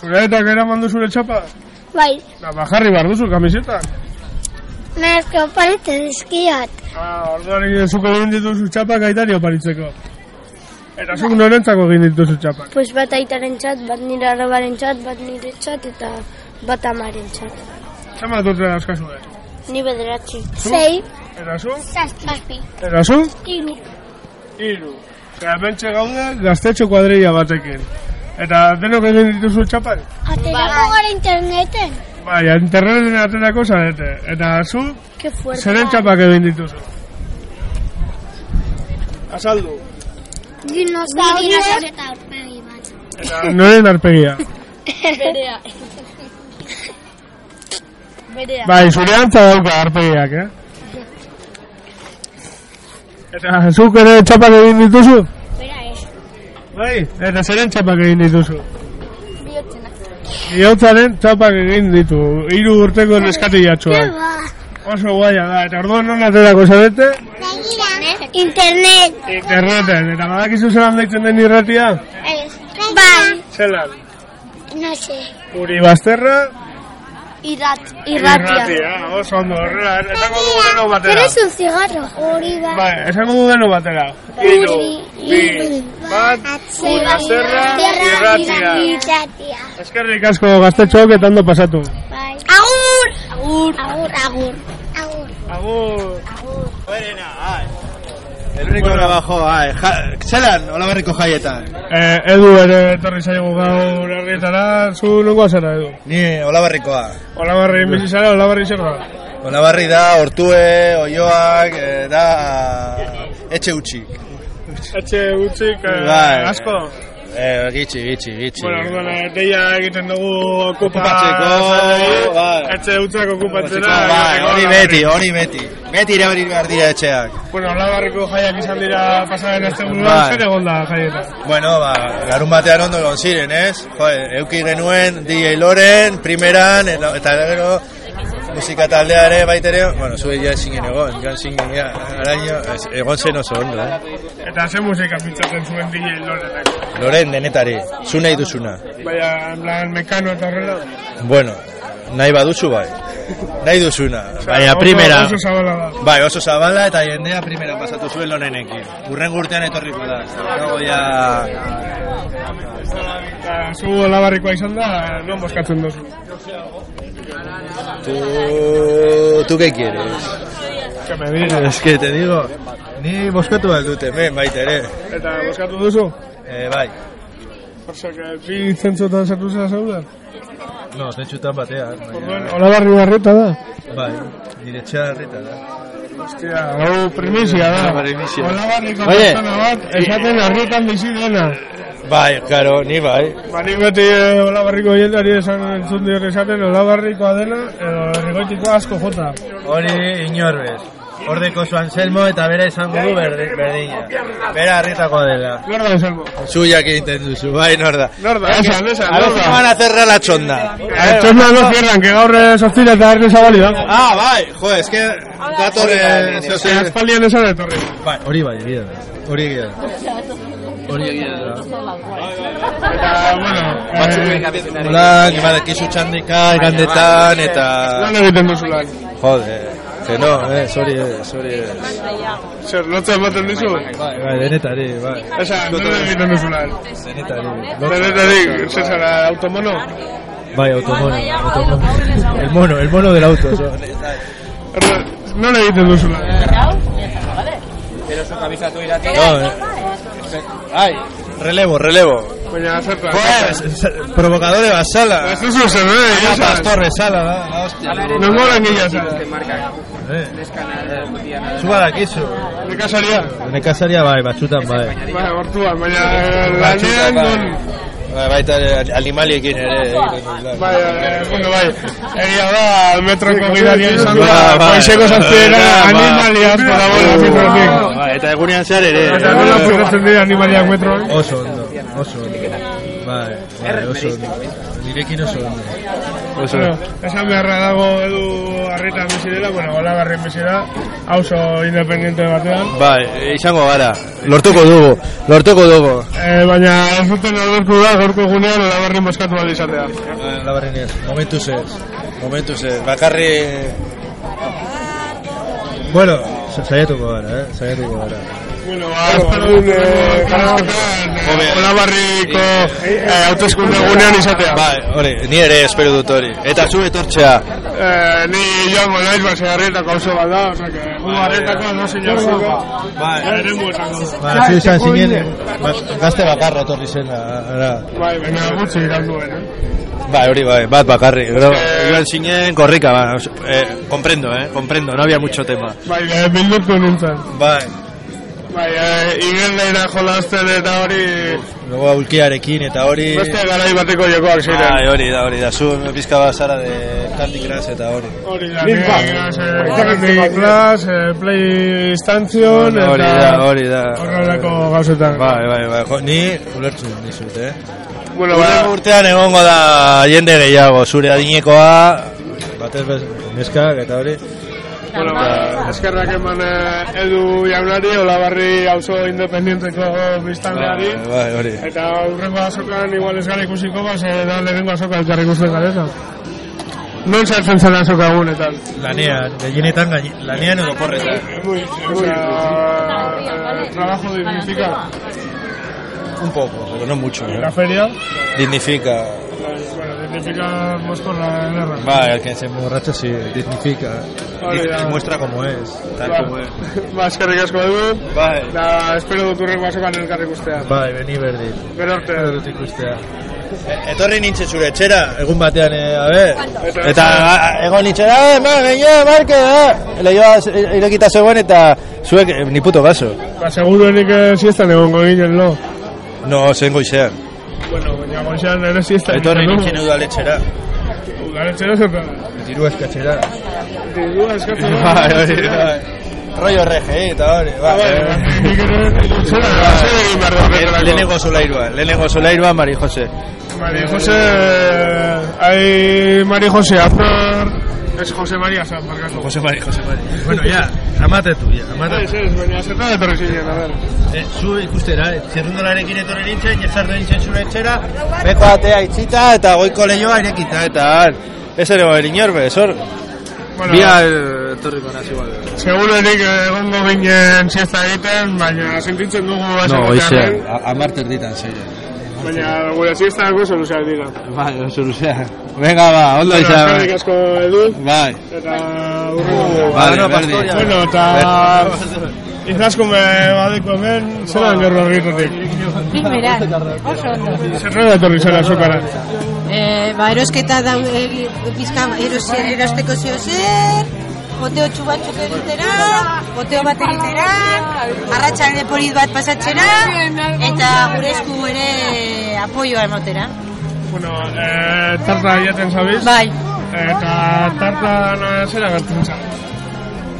Speaker 2: Zure eta gera mandu zure txapa?
Speaker 4: Bai.
Speaker 2: Da, bajarri bar duzu kamiseta?
Speaker 4: Nezke oparete dizkiat.
Speaker 2: Ah, orduan egin zuko egin dituzu txapak aitari oparitzeko. Eta zuk norentzako egin dituzu txapak?
Speaker 4: Pues bat aitaren txat, bat nire arrabaren txat, bat nire txat eta bat amaren txat.
Speaker 2: Zama dut dara euskazu da.
Speaker 4: Ni bederatzi. Zei.
Speaker 2: Eta zu?
Speaker 4: Zazpi.
Speaker 2: Eta zu?
Speaker 4: Iru.
Speaker 2: Iru. Eta bentxe gaude gaztetxo kuadrilla batekin. Eta denok egin dituzu txapak?
Speaker 4: Ah, Aterako gara interneten.
Speaker 2: Bai, interneten aterako zarete. Eta zu?
Speaker 4: Ke fuerte.
Speaker 2: Zeren txapak egin dituzu? Azaldu.
Speaker 4: Dinosaurio eta aurpegi bat.
Speaker 2: Eta noren arpegia?
Speaker 4: Berea. Berea.
Speaker 2: Bai, zure antza dauka arpegiak, eh? Eta zuk ere txapak egin dituzu?
Speaker 4: Bera ez.
Speaker 2: Bai, eta zeren txapak egin dituzu?
Speaker 4: Biotzena.
Speaker 2: Iotzaren txapak egin ditu, hiru urteko neskatilatxoak.
Speaker 4: Ba.
Speaker 2: Oso guaia da, eta orduan non aterako zarete?
Speaker 4: Internet.
Speaker 2: Interneten, eta badakizu zelan deitzen den irratia?
Speaker 4: Ez. Bai.
Speaker 2: Zelan,
Speaker 4: No sé.
Speaker 2: uri bazterra,
Speaker 4: Irrat,
Speaker 2: irratia, oso ondo, horrela, esango dugu deno batera.
Speaker 4: Eres un cigarro. Hori bat.
Speaker 2: Bai, esango dugu deno batera. Hiru, bi, bat, uri bazterra, irratia. Eskerrik asko gaztetxoak eta ondo pasatu.
Speaker 4: Bai. Agur! Agur! Agur, agur. Agur.
Speaker 2: Agur.
Speaker 4: Agur.
Speaker 10: El único trabajo, ah, ja, zelan, hola berriko jaietan.
Speaker 2: Eh, edu ere etorri zaigu gaur herrietara, zu nongoa zara edu.
Speaker 10: Ni olabarrikoa.
Speaker 2: Olabarri bizi zara, olabarri zer da?
Speaker 10: Olabarri da, hortue, oioak, eh, da, etxe utxik.
Speaker 2: Etxe utzik eh,
Speaker 10: Bai.
Speaker 2: asko.
Speaker 10: Eh, gitxi, gitxi, gitxi.
Speaker 2: Bueno, orduan eh, deia egiten dugu okupa
Speaker 10: Okupatzeko, bai.
Speaker 2: Etxe utzak okupatzera.
Speaker 10: Bai,
Speaker 2: egiteko
Speaker 10: hori
Speaker 2: olabarri.
Speaker 10: beti, hori beti. Beti ere hori behar dira etxeak.
Speaker 2: Bueno, olabarriko jaiak izan dira pasaren azte buruan,
Speaker 10: Bai.
Speaker 2: zer egon da jaieta.
Speaker 10: Bueno, ba, larun batean ondo egon e, ziren, ez? Jo, euki genuen DJ Loren, primeran, eta, eta gero musika taldea ere baitere, bueno, zuei ja zinen egon, joan zinen ja, araño, ez- egon zen oso ondo, eh?
Speaker 2: Eta ze musika pintzatzen zuen DJ Lorenek?
Speaker 10: Loren denetari, zu nahi duzuna.
Speaker 2: Baina, en plan, mekano eta horrela.
Speaker 10: Bueno, nahi baduzu bai, nahi duzuna, baina
Speaker 2: Oso-
Speaker 10: primera,
Speaker 2: Oso zabala da.
Speaker 10: bai, oso zabala eta jendea primera pasatu zuen lorenekin. Urren urtean etorriko da, dago ja...
Speaker 2: Eta zu olabarrikoa izan da, non boskatzen duzu.
Speaker 10: Tu, tu que quieres?
Speaker 2: Que me digas.
Speaker 10: Es que te digo, ni boskatu aldute, men, baitere.
Speaker 2: Eta boskatu duzu?
Speaker 10: Eh, bai.
Speaker 2: Osak, bi zentzutan sartu zela zeuden?
Speaker 10: No, zentsutan batean. baina-
Speaker 2: Olabarri barreta da.
Speaker 10: Bai, nire txea herrita da.
Speaker 2: Hostia, hau primizia da.
Speaker 10: Primizia.
Speaker 2: Olabarriko
Speaker 10: Oye,
Speaker 2: pertsona bat, esaten harritan bizi dena.
Speaker 10: Bai, karo, ni bai.
Speaker 2: Ba, nik beti eh, olabarriko jendari esan entzun dior esaten, olabarrikoa dena, edo herrikoitikoa asko jota.
Speaker 10: Hori inorbez. Ordeko zuan zelmo eta bera esango du berdi, berdina. Bera herritakoa dela.
Speaker 2: Norda esango.
Speaker 10: Zuiak egiten duzu, bai, norda.
Speaker 2: Norda, esan, esan,
Speaker 10: A veces van a
Speaker 2: norda.
Speaker 10: cerrar la chonda.
Speaker 2: Txorna no cierran, que gaur eh, sortzira eta erne zabali da.
Speaker 10: Ah, bai, jo, es que datorre...
Speaker 2: Ze aspaldian esan etorri.
Speaker 10: Bai, hori bai, egia da. Hori egia da. Hori egia da.
Speaker 2: Eta, bueno,
Speaker 10: Lan, badakizu txandika, gandetan, eta...
Speaker 2: Lan egiten duzu lan.
Speaker 10: Jode, que no, eh, sorry, eh, sorry. eh.
Speaker 2: Zer, lotza ematen dizu?
Speaker 10: Bai, denetari, bai.
Speaker 2: Esan, nola egiten duzu lan?
Speaker 10: Denetari.
Speaker 2: Denetarik, zezara, automono?
Speaker 10: Bai, automono, automono. El mono, el mono del auto. so.
Speaker 2: Nola egiten duzu lan?
Speaker 15: Pero su camisa tu irate.
Speaker 10: No, eh. Ai, relevo, relevo. Eh,
Speaker 2: Baina, zerta.
Speaker 10: Provocadores basala.
Speaker 2: Ez duzu zer, eh,
Speaker 10: Ana
Speaker 2: esan.
Speaker 10: Pastor esala da, la hostia.
Speaker 2: Non gora nila zara.
Speaker 10: Zuba dakizu.
Speaker 2: Nekazaria?
Speaker 10: Nekazaria bai, batzutan bai.
Speaker 2: Baina, hortuan, baina eh, lanean non...
Speaker 10: Bai, baita ere, animaliekin ere. egiten dut lan.
Speaker 2: Bai, eh, bueno, bai. Egia da, metroko gidaria izan da,
Speaker 10: Ba, bai.
Speaker 2: goizeko zazpiera
Speaker 10: Ba, ba.
Speaker 2: animaliaz para bola metrotik.
Speaker 10: Bai, eta egunean zehar ere.
Speaker 2: Eta nola puzatzen dira animaliak metroan?
Speaker 10: Oso ondo, oso ondo. Bai, bai, oso ondo. Nirekin oso ondo. Oso
Speaker 2: Bueno,
Speaker 10: ondo.
Speaker 2: esan beharra dago edu harritan bizi dela, bueno, hola garren bizi da, hauso independiente batean.
Speaker 10: Bai, izango gara. Lortuko dugu, lortuko dugu.
Speaker 2: Eh, baina ez duten aldortu da, gaurko egunean hola garren boskatu bat izatea. Ba,
Speaker 10: Labarrenez, momentuz ez. Momentuz ez, bakarri... Bueno, sa- saiatuko gara, eh? Saiatuko gara.
Speaker 2: Bueno, ba, espero dut, eh, elkarrizketan, eh, hola barriko eh, hauteskunde egunean izatea.
Speaker 10: Bai, hori, ni ere espero dut hori. Eta zu etortzea.
Speaker 2: Eh, ni joango naiz, ba, zeharretako oso bat da, oza, que jugu harretako no sinarzuko.
Speaker 10: Bai.
Speaker 2: Ere muetan.
Speaker 10: Ba, zu izan zinen, ba- gazte bakarra etorri zena. ara.
Speaker 2: Bai, baina gutxi iran duen, eh?
Speaker 10: Bai, hori bai, bat bakarri. Gero, Eh, joan zinen, korrika, ba, os- eh, comprendo, eh, comprendo, no había mucho tema.
Speaker 2: Bai, eh, bildurtu nintzen.
Speaker 10: Bai,
Speaker 2: Bai, eh, igeldeira jolasten eta hori...
Speaker 10: luego aulkiarekin eta hori...
Speaker 2: Beste garai bateko jokoak ziren.
Speaker 10: Bai, hori da, hori da, zu pizka bazara de Candy Crush eta hori.
Speaker 2: Hori da,
Speaker 10: Bil bat.
Speaker 2: eh, Candy Crush, eh, PlayStation,
Speaker 10: Hori da,
Speaker 2: eta...
Speaker 10: hori da.
Speaker 2: Horrelako gauzetan.
Speaker 10: Bai, bai, bai, jo, ni ulertzen dizut, eh.
Speaker 2: Bueno, ba-
Speaker 10: Hurrengo urtean egongo da jende gehiago, zure adinekoa, batez bez, neskak eta hori.
Speaker 2: Bueno, ba, eskerrak eman eh, edu jaunari, olabarri auzo independienteko biztanleari.
Speaker 10: Bai, bai, hori.
Speaker 2: Eta aurrengo azokan igual ez gara ikusiko, ba, ze da lehenengo azoka elkarri ikusten gareza. Non sartzen zela azoka egunetan?
Speaker 10: Lanean, gehienetan gaine- lanean edo porretan.
Speaker 2: Osea, eh, trabajo dignifica.
Speaker 10: Un poco, pero no mucho. ¿no?
Speaker 2: La feria,
Speaker 10: Dignifica.
Speaker 2: bueno, dignifica Moskorra ederra.
Speaker 10: Va, el que se emborracha sí, dignifica.
Speaker 2: Hori
Speaker 10: Diz-
Speaker 2: da.
Speaker 10: Muestra cómo es, tal
Speaker 2: Ba,
Speaker 10: como es.
Speaker 2: Ba, eskerrik asko edu.
Speaker 10: Bai.
Speaker 2: Da, espero dut urrengo azokan elkarri ikustea.
Speaker 10: Bai, beni berdin.
Speaker 2: Gero arte.
Speaker 10: Gero arte ikustea. Eh, Etorri nintzen zure etxera, egun batean, eh, a ver.
Speaker 2: Eta-
Speaker 10: Eta a- a- egon nintzen, ah, ma, gaina, marke, ah. Leioa eh, irekita zegoen eta zuek eh, ni puto gaso.
Speaker 2: Ba, seguruenik eh, siestan egongo ginen, no?
Speaker 10: No, zen goizean.
Speaker 2: Bueno, baina goxean ere siestan.
Speaker 10: Etorri nintzen udaletxera.
Speaker 2: Udaletxera zer da?
Speaker 10: Diru eskatzera.
Speaker 2: Dirua eskatzen da.
Speaker 10: Bai, hori, bai. Rollo RGI eta hori,
Speaker 18: Ah,
Speaker 10: bai.
Speaker 2: Nik ere ilusiona, zer egin behar da horretarako?
Speaker 10: Lehenengo solairuan, lehenengo solairuan, Mari Jose.
Speaker 2: Mari Jose, eh, ai Mari Jose, aznar Ez Jose Maria zan, barkatu.
Speaker 18: Jose Mari, Jose Mari. Bueno, ja, amatetu, ja, amatetu.
Speaker 2: Ez, ez, baina zertan etorri zinen, a ber.
Speaker 18: Eh, zu ikustera, eh, txirrindularekin etorri nintzen, jezardu nintzen zure etxera,
Speaker 10: Beko atea itxita eta goiko lehioa irekita eta han. Ez ere bai, inorbe, ez hor. Bia etorriko nazi igual.
Speaker 2: Segurenik eh, egongo ginen siesta egiten, baina sentitzen dugu
Speaker 10: No,
Speaker 2: baserritarren,
Speaker 10: oize, amarter ditan zeire.
Speaker 2: Baina gure siesta oso luzeak dira.
Speaker 10: Bai, oso luzea. Venga, ba, ondo
Speaker 2: Bueno,
Speaker 10: izan.
Speaker 2: eskerrik asko edu.
Speaker 10: Bai.
Speaker 2: Eta urrengo.
Speaker 10: Vale, berdin.
Speaker 2: Bueno, eta... Izaskume badeko hemen, zelan gerro argitatik.
Speaker 19: Nik beran, oso ondo.
Speaker 2: Zerrera etorri zara zokara.
Speaker 19: Eh, ba, erosketa da, eh, pizka, eros, erosteko zio zer, boteo txu batzuk egitera, boteo bat egitera, arratxaren polit bat pasatxera, eta gure esku ere apoioa emotera.
Speaker 2: Bueno, eh, tarta jaten zabiz? Bai. Eta tartan eh, zera gertzen zara?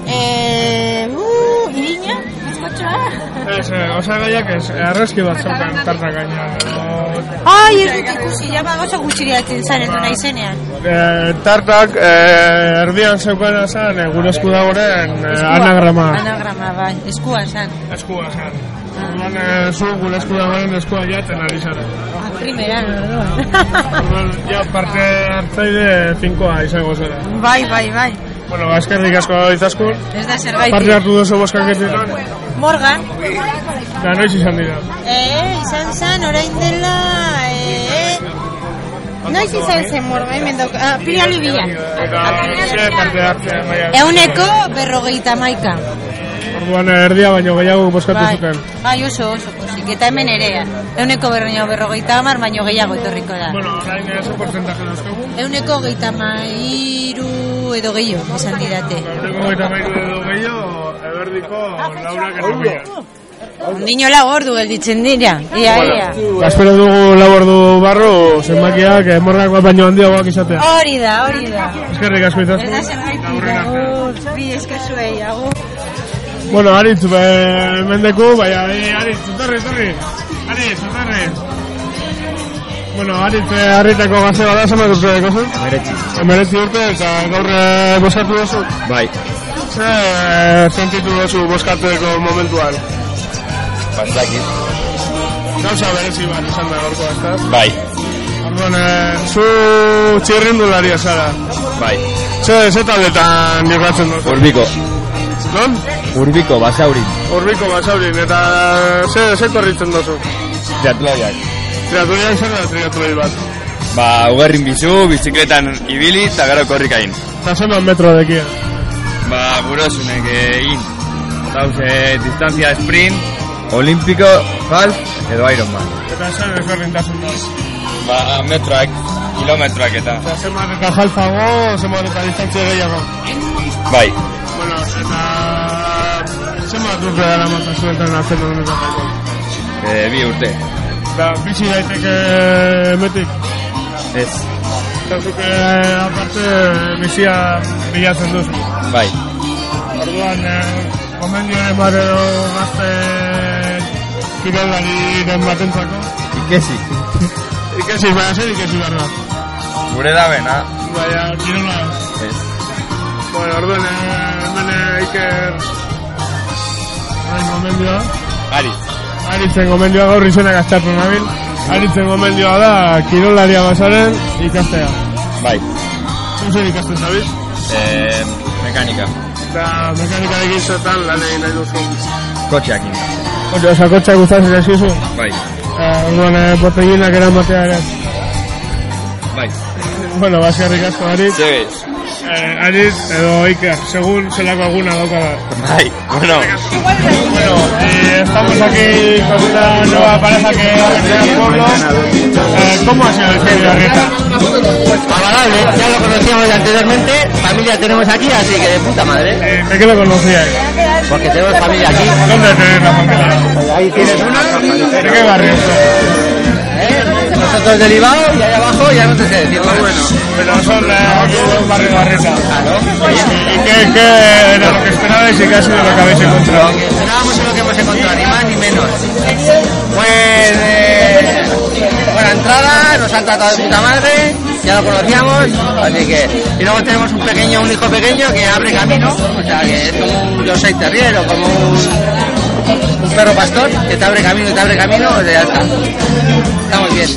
Speaker 19: Eh, uh, irina, bizkotxoa.
Speaker 2: Ez, eh, osagaiak ez, arrezki bat zaukan tarta gaina.
Speaker 19: Ai, ez dut ikusi, ba, jama gozo gutxiriatzen zan, edo naizenean.
Speaker 2: Eh, tartak eh, erdian zeukana zen, eh, gure esku dagoen eh, anagrama.
Speaker 19: Anagrama, bai, Ah. eskuan zan.
Speaker 2: Eskuan zan. Orduan, eh, zu gure esku dagoen eskua jaten ari zara.
Speaker 19: Primeran, orduan.
Speaker 2: Orduan, ja, parte hartzaile finkoa izango zara.
Speaker 19: Bai, bai, bai.
Speaker 2: Bueno, ba, eskerrik asko izaskun.
Speaker 19: Ez da zerbait.
Speaker 2: Parte hartu duzu boskanketetan.
Speaker 19: Morgan.
Speaker 2: Da, noiz izan dira.
Speaker 19: Eh, izan zen, orain dela... Eh, noiz izan zen Morgan, hemen dauk... Ah, pila libila.
Speaker 2: Eta, ze parte hartzea, baina.
Speaker 19: Euneko berrogeita maika.
Speaker 2: Orduan, eh, erdia baino gehiago boskatu
Speaker 19: Bai.
Speaker 2: zuten.
Speaker 19: Bai, oso, oso, pozik. Eta hemen ere, euneko berrogeita berrogeita amar, baino gehiago etorriko da.
Speaker 2: Bueno, orain ez porcentaje dauzkagu.
Speaker 19: Euneko gehiago mairu edo gehiago, esan didate.
Speaker 2: Eguneko eta mairu edo gehiago, eberdiko laurak eta mila.
Speaker 19: Ondinola gordu gelditzen dira, ia, ia.
Speaker 2: Ba, Espero dugu lau ordu barru, zenbakiak eh, morgakoa baino handiagoak izatea.
Speaker 19: Hori da, hori da.
Speaker 2: Eskerrik asko
Speaker 19: Ez
Speaker 2: izaskun.
Speaker 19: da zerbait, agur, bi eskazuei, agur.
Speaker 2: Bueno, aritz, ba, mendeku, baina, e, aritz, etorri, etorri. Aritz, etorri. Bueno, aritz, eh, harritako gazte bada, zama dut zuen, kozu? Emeretzi. Emeretzi urte, eta gaur eh, bozkatu duzu?
Speaker 7: Bai.
Speaker 2: Ze, eh, sentitu duzu bozkatzeko momentuan?
Speaker 15: Batzakit.
Speaker 2: Gauza berezi bat izan da gaurko, ez da?
Speaker 15: Bai,
Speaker 2: Orduan, eh, zu txirrindularia zara.
Speaker 15: bai.
Speaker 2: Ze, ze taldetan jokatzen duzu?
Speaker 15: Urbiko.
Speaker 2: Non?
Speaker 15: Urbiko, basaurin.
Speaker 2: Urbiko basaurin, eta ze, ze korritzen duzu?
Speaker 15: Triatloiak.
Speaker 2: Triatloiak zer da triatloi bat?
Speaker 15: Ba, ugarrin bizu, bizikletan ibili, eta gero korrikain.
Speaker 2: Eta zenbat metro dekia?
Speaker 15: Ba, burosunek egin. Dauz, eh, distantzia sprint, olimpiko, half, edo Ironman.
Speaker 2: Eta zer ezberdintasun da?
Speaker 15: Ba, metroak, kilometroak eta.
Speaker 2: Eta zenbat eta jalfago, zenbat eta distantzia gehiago.
Speaker 15: Bai,
Speaker 2: Bueno, eta zenbat urte dara matazu eta nazen honetako.
Speaker 15: eh, bi urte.
Speaker 2: Eta Ba, bizi daiteke eh, metik.
Speaker 15: Ez,
Speaker 2: Eta zuke eh, aparte bizia bilatzen duzu.
Speaker 15: bai.
Speaker 2: Orduan, eh, gomendioen bat edo gazte kirolari den batentzako.
Speaker 15: Ikesi.
Speaker 2: Ikesi, baina zer ikesi behar da.
Speaker 15: Gure da bena.
Speaker 2: Baina, kirola.
Speaker 10: Pues,
Speaker 15: Ez.
Speaker 2: Bueno, orduan, eh, hemen eh, Iker... Orain gomendioa.
Speaker 15: Ari.
Speaker 2: Aritzen gomendioa gaur izenak gaztatu nabil. Aritzen gomendioa da, kirolaria bazaren ikastea.
Speaker 15: Bai.
Speaker 2: Zuzer ikasten zabiz?
Speaker 15: Eh, mekanika.
Speaker 2: Eta mekanikarekin zotan lan egin nahi duzu.
Speaker 15: Kotxeakin.
Speaker 2: Ote, osakotxak gustatzen eskizu?
Speaker 15: Bai.
Speaker 2: Eh, orduan, eh, botellinak eramatea ere.
Speaker 15: Bai.
Speaker 2: Bueno, baskarrik asko, Aritz.
Speaker 15: Zegeiz.
Speaker 2: Eh, Aritz, edo Iker, segun zelako aguna dauka da.
Speaker 15: Bai, bueno.
Speaker 2: Bueno, eh, estamos aquí con una nueva pareja que pertenece al pueblo. Eh, ¿Cómo ha sido el Feria Arrieta?
Speaker 20: Agradable, ya lo conocíamos anteriormente, familia tenemos aquí, así que de puta madre.
Speaker 2: ¿De qué lo conocíais?
Speaker 20: Porque tenemos familia aquí.
Speaker 2: eh, ¿Dónde tenéis la familia?
Speaker 20: Ahí tienes una. Eh,
Speaker 2: ¿De qué barrio?
Speaker 20: Nosotros del Ibao y allá abajo ya no te sé decir.
Speaker 2: Bueno, pero son eh, otros barrios de Arrieta. ¿Y qué, qué era lo que esperabais y qué ha sido lo que habéis encontrado?
Speaker 20: Esperábamos lo que hemos encontrado, ni más ni menos. Pues, eh, bueno,
Speaker 5: entrada, nos han tratado de puta madre, ya lo conocíamos, así que... Y luego tenemos un pequeño, un hijo pequeño que abre camino, o sea, que es como un José Terrier o como un, un perro pastor que te abre camino, te abre camino, o sea, ya está. Estamos bien,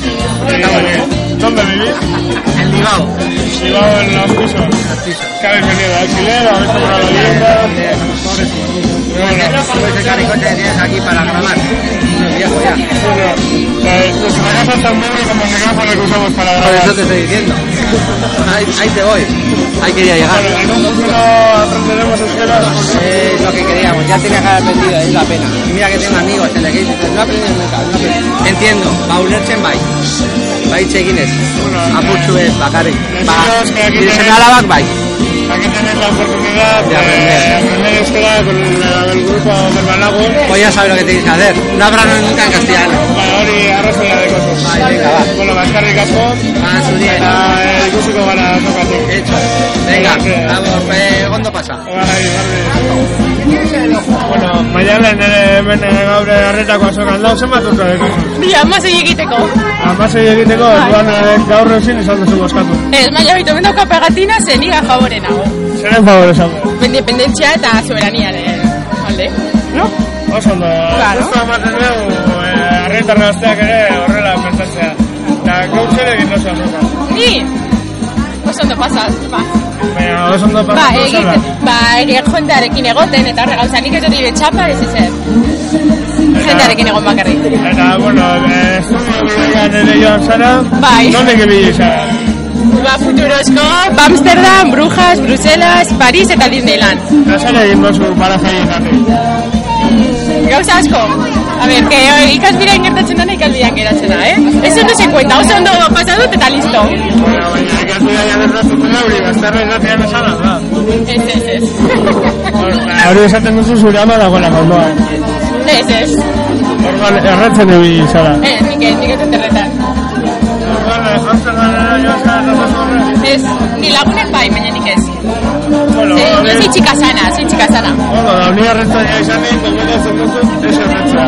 Speaker 5: estamos bien.
Speaker 2: ¿Dónde vivís?
Speaker 5: En Bilbao.
Speaker 2: Bilbao en los pisos. ¿Qué habéis venido? ¿Alquiler? ¿Habéis comprado vivienda?
Speaker 5: Puedes sacar el coche que tienes aquí para grabar. Viejo ya.
Speaker 2: Eh, Nuestra casa es tan pobre como el micrófono que usamos para
Speaker 5: Por
Speaker 2: grabar.
Speaker 5: eso te estoy diciendo. Ahí, ahí te voy. Ahí quería llegar.
Speaker 2: Bueno, en un futuro aprenderemos euskera.
Speaker 5: Es lo que queríamos. Ya tenía que haber aprendido, es la pena. Y mira que tengo amigos en el que dicen, no he aprendido nunca. No he aprendido". Entiendo. Baulertzen bai. Bai txekinez. Apurtzu ez,
Speaker 10: Bai.
Speaker 5: bakarrik. Ba,
Speaker 2: Deciros que aquí
Speaker 5: nire
Speaker 2: tenéis-
Speaker 5: seme alabak bai.
Speaker 2: Aquí tenéis la oportunidad de aprender euskera con el, el grupo Berbalagun.
Speaker 5: Pues ya sabes lo que tienes que hacer. No hablaron nunca en castellano.
Speaker 2: Ba, hori arrazoia dekozuz.
Speaker 5: Bai, venga, va.
Speaker 2: Bueno, ba, eskarrik asko.
Speaker 5: Ah, zuri.
Speaker 2: Eta eh, ikusiko gara tokatik.
Speaker 5: Venga, vamos, eh, ondo pasa. eh,
Speaker 2: Bueno, maialen ere hemen eh, gaur arretako azokan dau, zenbat urte dekozu?
Speaker 12: Mira, hamasei egiteko.
Speaker 2: Amasei egiteko, orduan eh, gaur eusin izan duzu boskatu.
Speaker 12: Ez, baina bitu dauka pegatina zen iga favore nago.
Speaker 2: Zeren favor esango?
Speaker 12: Independentzia eta soberaniaren alde. No?
Speaker 2: Oso ondo,
Speaker 12: Claro.
Speaker 2: gustu ematen dugu eh, arretarra gazteak ere horrela pentsatzea. Eta gaur zer egin duzu azokan?
Speaker 12: Ni? Oso ondo pasaz, ba.
Speaker 2: Baina oso ondo
Speaker 12: Ba,
Speaker 2: pasatu
Speaker 8: eh,
Speaker 2: zela.
Speaker 12: egiten, ba, ere jendearekin egoten, eta horre gauza, nik ez dut ibe txapa ez ezer. Jendearekin egon bakarrik.
Speaker 2: Eta, bueno, eh, estudio blogean ere joan zara.
Speaker 12: Bai.
Speaker 2: Nondik ibili zara?
Speaker 12: Ba, futurosko, ba, Amsterdam, Brujas, Bruselas, Paris eta Disneyland.
Speaker 2: Zer egin duzu parazailetatik?
Speaker 12: Gauza asko. A ber, que eh, ikasbidean gertatzen dena ikasbidean geratzen da, eh? Ez ondo zen kuenta, oso ondo pasa dut eta listo.
Speaker 2: Bueno, baina ikasbidean gertatzen dena hori, bazterra irratian esana, da.
Speaker 12: Ez, ez, ez.
Speaker 2: Hori esaten duzu zure ama dagoela kondoan.
Speaker 12: Ez, ez.
Speaker 2: Orduan, erretzen ibili zara.
Speaker 12: Ez, nik ez, nik ez dut erretan. Ez, ni lagunek bai, baina nik ez. Ze,
Speaker 2: a
Speaker 12: ni
Speaker 2: ver.
Speaker 12: soy chica sana, soy chica sana.
Speaker 2: Bueno, da, ni erretzaia izan egin, baina ez dut ez erretzea.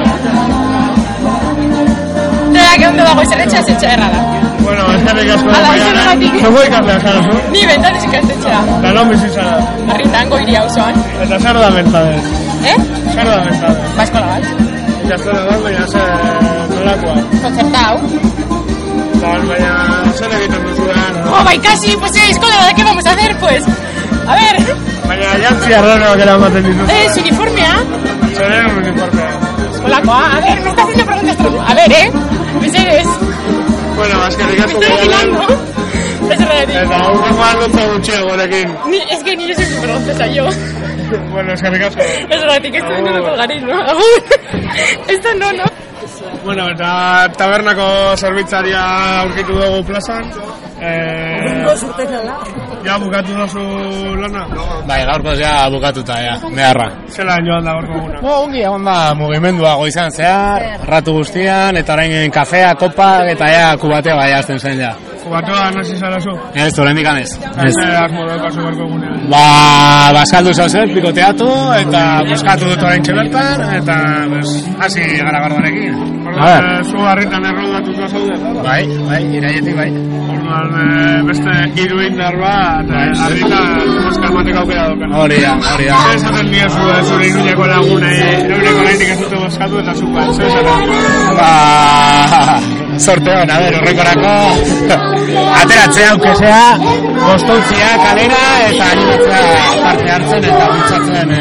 Speaker 12: Zera, que ondo dago izerretxea, zetxea erra da.
Speaker 2: Bueno, eskerrik asko.
Speaker 12: Ala,
Speaker 2: baina,
Speaker 12: izanagatik.
Speaker 2: Zegoa ikaslea zara zu?
Speaker 12: Ni bentan ikastetxea.
Speaker 2: Da, non bizi zara.
Speaker 12: Arritango iria osoan.
Speaker 2: Eta zer da bentadez?
Speaker 12: Eh?
Speaker 2: Zer da bentadez?
Speaker 12: Baskola bat.
Speaker 2: Eta zer da bat, baina zer nolakoa.
Speaker 12: Kontzertau.
Speaker 2: Da, baina zer egiten duzu da.
Speaker 12: Oh, bai, casi, pues eh, eskola da, ¿qué vamos a hacer, pues? A ver,
Speaker 2: Baina jantzi arraroak eramaten dituzu.
Speaker 12: eh, su uniformea,
Speaker 2: Zer uniformea.
Speaker 12: escolakoa, a ver, me está haciendo preguntas tronco. A ver, eh, mesedes,
Speaker 2: Bueno, eskerrik asko.
Speaker 12: me estoy vigilando. Ez erratik.
Speaker 2: Eta aurrekoan lotza gutxeo gurekin.
Speaker 12: Ni, es que ni yo soy muy vergonzosa, yo.
Speaker 2: Bueno, eskerrik asko.
Speaker 12: Ez erratik, esto no
Speaker 3: Oh.
Speaker 12: lo colgaréis, ¿no? Agur. Esto no, no.
Speaker 2: Bueno, eta tabernako zerbitzaria aurkitu dugu plazan. Eh, ja bukatu duzu lana?
Speaker 3: Bai, gaurko ja bukatuta, ja, neharra.
Speaker 2: Zela joan da gaurko guna.
Speaker 3: Bo, ongi egon da mugimendua goizan zehar, ratu guztian, eta orain kafea, kopa, eta ja, kubatea bai hasten zen ja.
Speaker 2: Batoa, nasi zara zu?
Speaker 3: Ez, oraindik ez. Ez.
Speaker 2: Zer asmo daukazu gaurko gunean?
Speaker 3: Ba, baskaldu zauzet, pikoteatu, eta buskatu dut orain bertan, eta pues, hasi gara gardonekin.
Speaker 2: Orduan, eh, zu harritan erroldatuta zaude?
Speaker 3: Bai, bai, irailetik bai.
Speaker 2: Orduan, eh, beste hiru indar bat, eh, harritan boska ematek aukera daukan.
Speaker 3: Bai. Hori da, hori da.
Speaker 2: Zer esaten diezu eh, zure iruñako lagunei, eureko lehenik ez dute boskatu eta zu bat, zer esaten diezu?
Speaker 3: Ba, sorte hona, ber, horrekorako, ateratzea, aukesea, bostontzia, kalera, eta animatzea parte hartzen, eta bultzatzen e,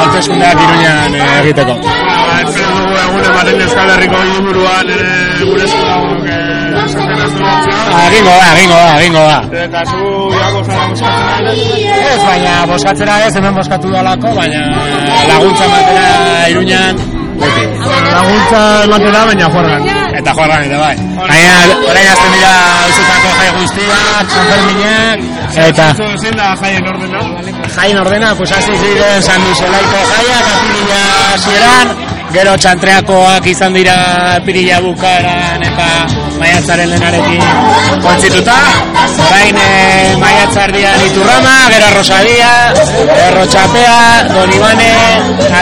Speaker 3: hauteskundeak iruñan eh, egiteko.
Speaker 2: Ba, espero dugu egun ematen Euskal Herriko inguruan ere gure esku dago, eh, esaten ez dugu.
Speaker 3: Agingo Ah, da, agingo da, agingo da.
Speaker 2: Eta zu jago zara boskatzen ari?
Speaker 3: Ez, baina boskatzera ez, hemen boskatu dalako, baina laguntza matera iruñan,
Speaker 2: Laguntza ematera, baina juargan.
Speaker 3: Eta joarran eta bai. Baina, orain azten dira eusutako jai guztiak, sanferminak, eta...
Speaker 2: Zein da jaien ordena?
Speaker 3: Jain ordena, pues hasi ziren San Duzelaiko jaia, kapilila zieran, Gero txantreakoak izan dira pirila bukaeran eta maiatzaren lehenarekin kontzituta. Bain e, maiatzardian iturrama, gero arrosadia, erro txapea, donibane,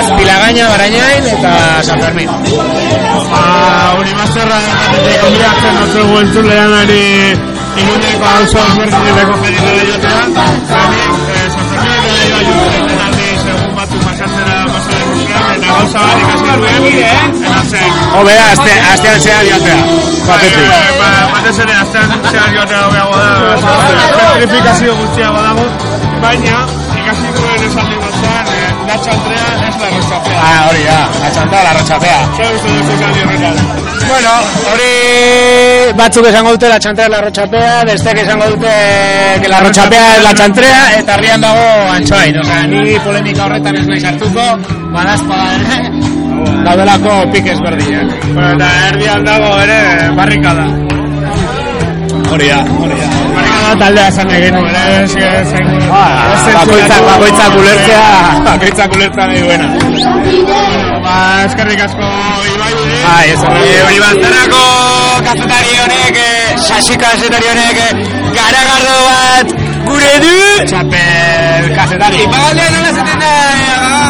Speaker 3: azpilagaina, barainain eta San Fermin.
Speaker 2: Ba, hori bazterra eta konbiratzen dugu entzulean ari iruneko hau zau ezberdinetako fedikala joatera. Ba, ba, eh,
Speaker 3: Hobea, azte, astean zehar joatea. Batetik.
Speaker 2: Ba, Batez ere, aztean zehar joatea hobeago da, petrifikazio guztiago dago, baina ikasi duen esan digozan, la txantrea ez la rotxafea.
Speaker 3: Ah, hori da, atxantada la rotxafea.
Speaker 2: Zer uste duzu esan horretan?
Speaker 3: Bueno, hori batzuk esango dute la txantrea la rotxapea, bestek esango dute que la rotxapea es la txantrea, eta arrian dago antxoain. Osa, ni polemika horretan ez nahi sartuko, badazpada ere, eh? daudelako pik ezberdinak.
Speaker 2: Bueno, eta erdian dago ere barrikada.
Speaker 3: Hori da, hori da.
Speaker 2: Barrikada taldea esan egin, ere, ez zen...
Speaker 3: Ah, Bakoitzak, bakoitzak ulertzea, bakoitzak ulertzea nahi duena.
Speaker 2: Ba, eskerrik asko Ibai,
Speaker 3: Bai, ez
Speaker 2: Eh,
Speaker 3: hori
Speaker 2: hori
Speaker 3: bat.
Speaker 2: bazterako
Speaker 3: kazetari honek, sasika kazetari honek,
Speaker 15: garagardo bat, gure du!
Speaker 3: Txapel kazetari.
Speaker 15: Ipagaldean nola zaten da,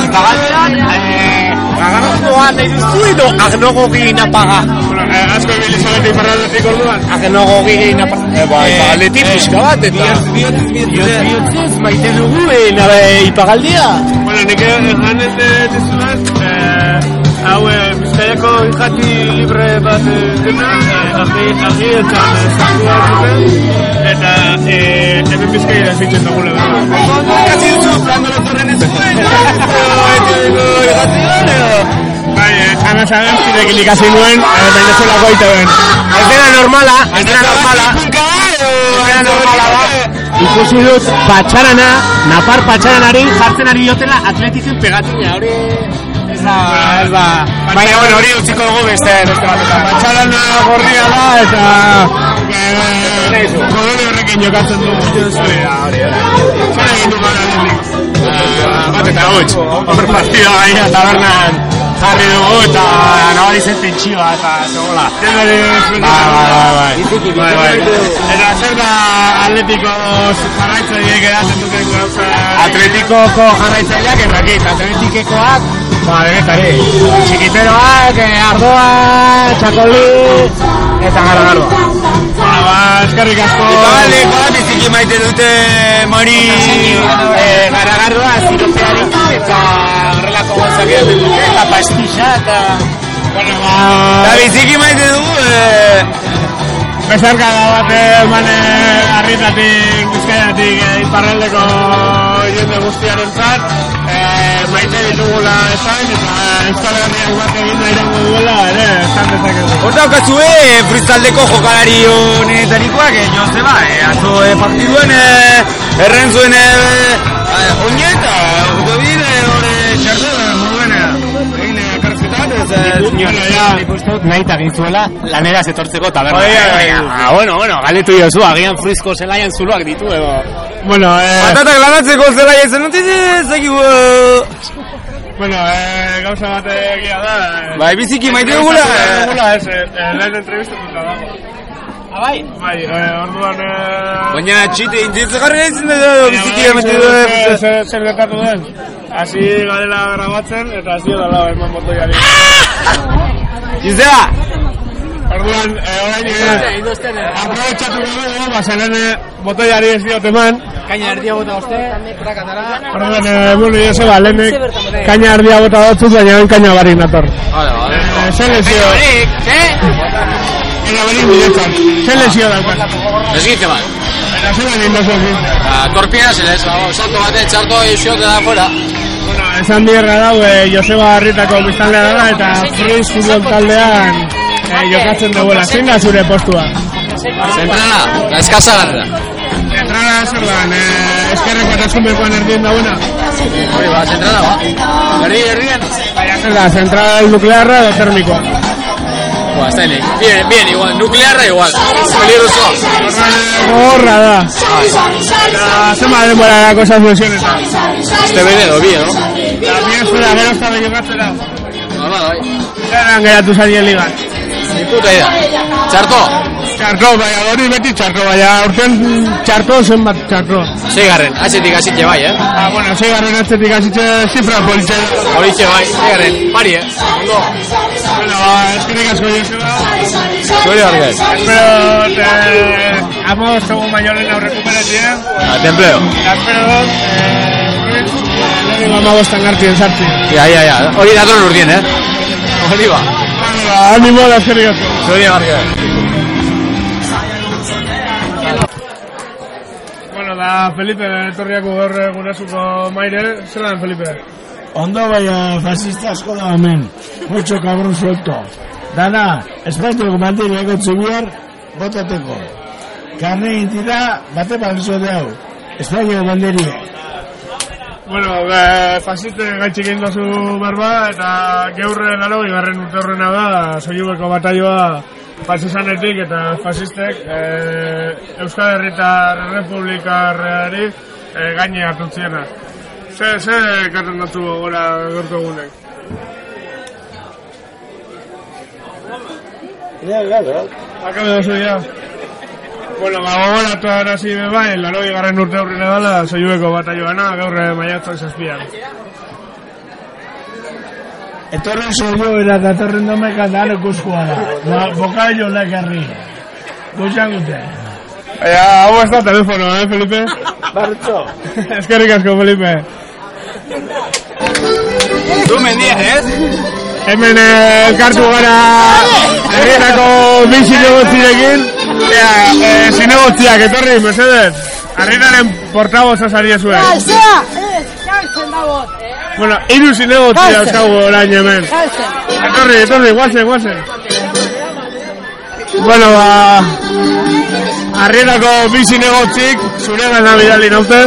Speaker 15: ipagaldean,
Speaker 3: Agnogoan nahi duzu edo agnogogi napaga?
Speaker 2: Asko ibili zabetik parraldetik orduan.
Speaker 3: Agnogogi napaga. Eh, ba, ipagaldetik pixka bat, eta... Bihotz, bihotzez, maite dugu, eh, nabe, ipagaldia.
Speaker 2: Bueno, nik egan ez dut izunaz, eh, hau eh, bizkaiako ikati libre bat eh, dena, eh, argi, argi eta eskakua dute, eta eh, hemen bizkaia ez ditzen dugula. Ikasi duzu, plando lezorren ez Bai, esan esan, zirekin ikasi nuen, eh, baina zuela goita ben.
Speaker 3: Ez dena normala, ez dena normala. Ez dena normala da. Ikusi dut, patxarana, napar patxaranari jartzen ari diotela atletizen pegatina, hori... Ez da, Ah, ez da... Baina, bueno, hori utziko dugu beste, beste batetan. Patxarana gorria da, eta... Kolore horrekin jokatzen dugu. Hori da, hori Ah, da. Zer egin du bat eta huts. Hor partida gaina tabernan jarri dugu eta nabarizen tentsioa eta zegoela. Bai, bai, bai, bai. Bai, bai.
Speaker 2: Eta zer da atletiko jarraitzaileek eratzen duten gauza...
Speaker 3: Atletikoko jarraitzaileak errakit, atletikekoak, ba, denetari. Txikiteroak, eh, ardoa, txakoli, eta garagaroa.
Speaker 2: Bueno, ba, eskerrik asko...
Speaker 15: Ipagaldekoa biziki maite dute mori...
Speaker 3: Eh, garagardoa, ziropearekin, eta horrelako gozak egiten dute, eta pastilla, eta... Bueno, ba...
Speaker 15: Eta biziki maite dugu, eh...
Speaker 2: Bezarka da bat eman eh, arritatik, bizkaiatik, eh, iparraldeko jende guztiaren zat, eh, maite ditugula esan, eta Euskal Herriak bat egin nahi dugu duela, ere, esan dezakegu.
Speaker 15: Hor daukazue, eh, freestaldeko jokalari honetarikoak, eh, Joseba, eh, atzo eh, partiduen eh, erren zuen eh, eh, oineta, autobide, hor eh, txartu, eh, moduen, eh, egin eh, kartzketan, ez, eh,
Speaker 3: Nik uste dut nahi tagin zuela lanera zetortzeko taberna.
Speaker 15: Oia, oia.
Speaker 3: Ah, bueno, bueno, galetu jozu, agian fruizko zelaian zuluak ditu edo.
Speaker 2: Bueno, eh...
Speaker 15: Patatak lanatzeko zela jazen, ez, ez, egibu...
Speaker 2: Bueno, eh, gauza bat egia da... eh,
Speaker 15: Bai, biziki maite
Speaker 2: gauza
Speaker 15: dugula,
Speaker 2: bat
Speaker 15: eh.
Speaker 2: dugula, ez, eh, eh, lehen entrevistatuta dago. Abai? Bai, eh, orduan... Eh,
Speaker 15: Baina txite intzitzgarri ezin da biziki maite duen.
Speaker 2: Zer zer gertatu den? Hasi garela grabatzen eta hasi dela eman botoiari.
Speaker 15: Gizea!
Speaker 2: Orduan, eh, orain eh, aprobetxatu gabe, bazenan Ba, botoiari ez diot eman.
Speaker 3: Kaina erdia bota oste, prakatara.
Speaker 2: Orduan, eh, bueno, jo zeba, lehenek kaina erdia bota batzut, baina hain kaina barik nator. Eh, Zer lesio?
Speaker 21: ¿eh?
Speaker 2: Baina barik biletan.
Speaker 21: Ah.
Speaker 2: Zer lesio daukan?
Speaker 21: Esguince bat.
Speaker 2: Eta zuen egin dozu egin.
Speaker 21: Ah, Torpia, se les va salto bate, txarto iso, da fuera.
Speaker 2: Ba, Esan bierra dau, eh, Joseba Arritako biztanlea dara eta Friz futbol taldean eh, jokatzen duela. Zein da zure postua?
Speaker 21: Zentrala, la eskasa larra.
Speaker 2: Zentrala zer da, eh, eskerreko eta eskumekoan erdien dauna.
Speaker 21: Hori ba, zentrala ba. Erdi, erdien.
Speaker 2: Zer da, zentral nuklearra edo termikoa.
Speaker 21: Ba, está bien. Bien, bien, igual. Nuclearra igual. Peligroso.
Speaker 2: Horra da. Eta zema denbora da kosa funtzionetan.
Speaker 21: Este bere edo bi, ¿no?
Speaker 2: Eta bi ez da, gero ez da jokatzera.
Speaker 3: normala, bai.
Speaker 2: Zeran geratu zarien ligan.
Speaker 3: Puta ida. Txarto.
Speaker 2: Txarko, baina bai, hori beti txarko, baina aurten txarko zenbat txarko.
Speaker 3: Seigarren, atzetik hasitxe bai, eh?
Speaker 2: Ah, bueno, zeigarren atzetik hasitxe zifra politzen.
Speaker 3: Horitxe bai, seigarren, pari, eh? Ondo.
Speaker 2: Bueno, ba, eskerrik asko Joseba.
Speaker 3: Zure horrek.
Speaker 2: Espero, te... Amo, segun baino lehen aurreko peratia.
Speaker 3: A templeo.
Speaker 2: Espero, eh... Lehen amabostan hartien sartzen.
Speaker 3: Ja, ja, ja. Hori datorren urdien, eh? Hori ba.
Speaker 2: Ba, animo da eskerrik asko.
Speaker 3: Zure horrek.
Speaker 2: Bueno, da Felipe etorriako gaur eh, gurasuko maire. Zeran, Felipe?
Speaker 22: Ondo baina fascista asko da hemen. Mucho cabrón suelto. Dana, espainiako mandiriako txibiar botateko. Karne intira, bate panzo de hau. Espainiako mandiria.
Speaker 2: Bueno, be, pasite gaitxik egin dozu berba, eta geur laro, ibarren urte horrena da, soilubeko bataioa pasizanetik eta fasistek e, Euskal Herritar Republikarreari e, gaine hartu ziena. Ze, ze ekarren datu gora gorko egunek?
Speaker 22: Ja, ja, ja.
Speaker 2: Akabe dozu ja. Bueno, ba, gogoratu arazi bebai, laro igarren urte horrena dela, soilubeko bataioana, gaur eh, maiatzak zazpian.
Speaker 22: Etorren soio era datorren domek andaren kuzkoa da. Ba, Bokaio lekarri. Gutxan gute.
Speaker 2: Baina, hau ez da telefono, eh, Felipe?
Speaker 22: Bartzo.
Speaker 2: Eskerrik asko, Felipe.
Speaker 3: Du mendiak, ez?
Speaker 2: Hemen eh, elkartu gara herrietako bi zinegotzirekin. Ea, eh, zinegotziak, etorri, mesedez. Arrietaren portaboza zaria zuen. Bueno, hiru zinegotzi
Speaker 23: Gauzen.
Speaker 2: dauzkagu orain hemen. Etorri, etorri, guazen, guazen. Bueno, ba... Arrietako bi zinegotzik, zure gana bidali naute.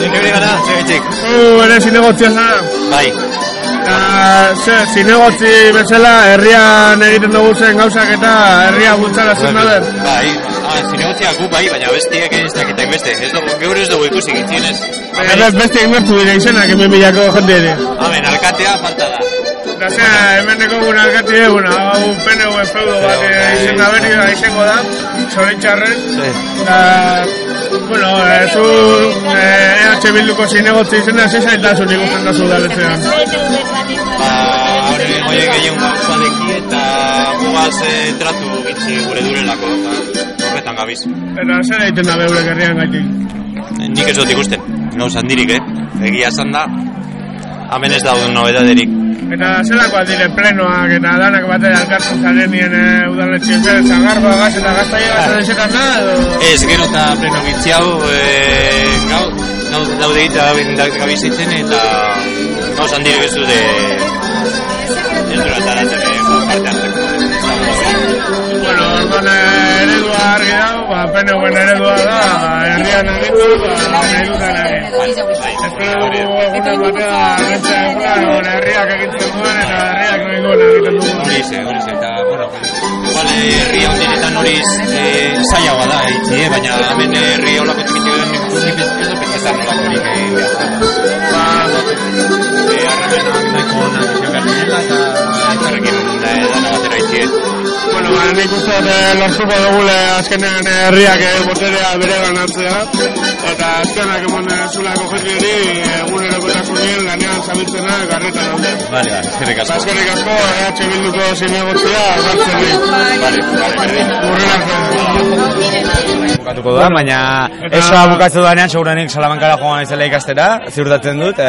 Speaker 24: Nik ebre gara, zegitxik.
Speaker 2: Zu ere zinegotzia zara.
Speaker 24: Bai.
Speaker 2: Eta, ze, zinegotzi bezala, herrian egiten dugu zen gauzak eta herria bultzara zen dauden.
Speaker 24: Bai, ah, zinegotziak gu bai, baina bestiek ez dakit hainbeste. Ez dugu, geur ez dugu ikusi gitzienez.
Speaker 2: Eta beste inbertu dira izenak hemen bilako jende ere.
Speaker 24: Hemen, alkatea falta da.
Speaker 2: Eta ze, hemen deko gure alkati eguna, hau PNV feudo bat eh, izen da berri aizengo da, zoritxarren. Eta, bueno, eh, zu eh, EH Bilduko zinegotzi izena, zezaitasun ikusten da zu galetzean.
Speaker 24: Ah, Ba, hori, oie gehien gauzadeki eta gugaz eh, tratu gitzi gure durelako. eta Horretan gabiz.
Speaker 2: Eta zer egiten da beure herrian gaitik.
Speaker 24: Nik ez dut ikusten. Gauza handirik, eh? Egia esan da. Hemen ez dauden nobedaderik.
Speaker 2: Eta zelakoa dire plenoak eta danak batera alkartzen zarenien e, udaletxe zer, zagarba, gaz eta gaztaia bat desetan da, edo...
Speaker 24: Ez, gero eta pleno gitzi hau, e, gau, gau, daude eta gabizitzen eta gauz handirik ez dute ez dut ataratzen eh, parte hartzeko.
Speaker 2: Bueno, orduan eh, eredua argi dago, ba, PNVen eredua da, ba, herrian egitu, ba, nahi dutan egin. Espero dugu egunen batea, beste eguna, gure herriak egitzen duen, eta herriak nahi duena egiten dugu.
Speaker 24: Hori ze, hori ze, eta, bueno, igual eh, herri handinetan hori e, zailagoa da, itzi, eh, baina hemen eh, herri holako txikitzu den nik nik ez ez dut pentsatzen nolako hori egin behar zela. Ba, e, harremen nahiko onak izan behar direla, eta elkarrekin da, dana batera itzi, eh.
Speaker 2: Bueno, ba, nik uste dut eh, lortuko dugule azkenean eh, herriak eh, boterea bere ganatzea eta azkenak emon eh, zulako jende hori eh, egunerokotasunien lanean zabiltzena garretan daude.
Speaker 24: Vale, vale, eskerrik
Speaker 2: Ba,
Speaker 24: asko.
Speaker 2: Eskerrik asko, EH Bilduko zinegotzea, gartzen di. Vale, vale,
Speaker 25: bukatuko da, baina esoa bukatzu danean segurenik Salamankara joan naizela ikastera, ziurtatzen dut. Eh,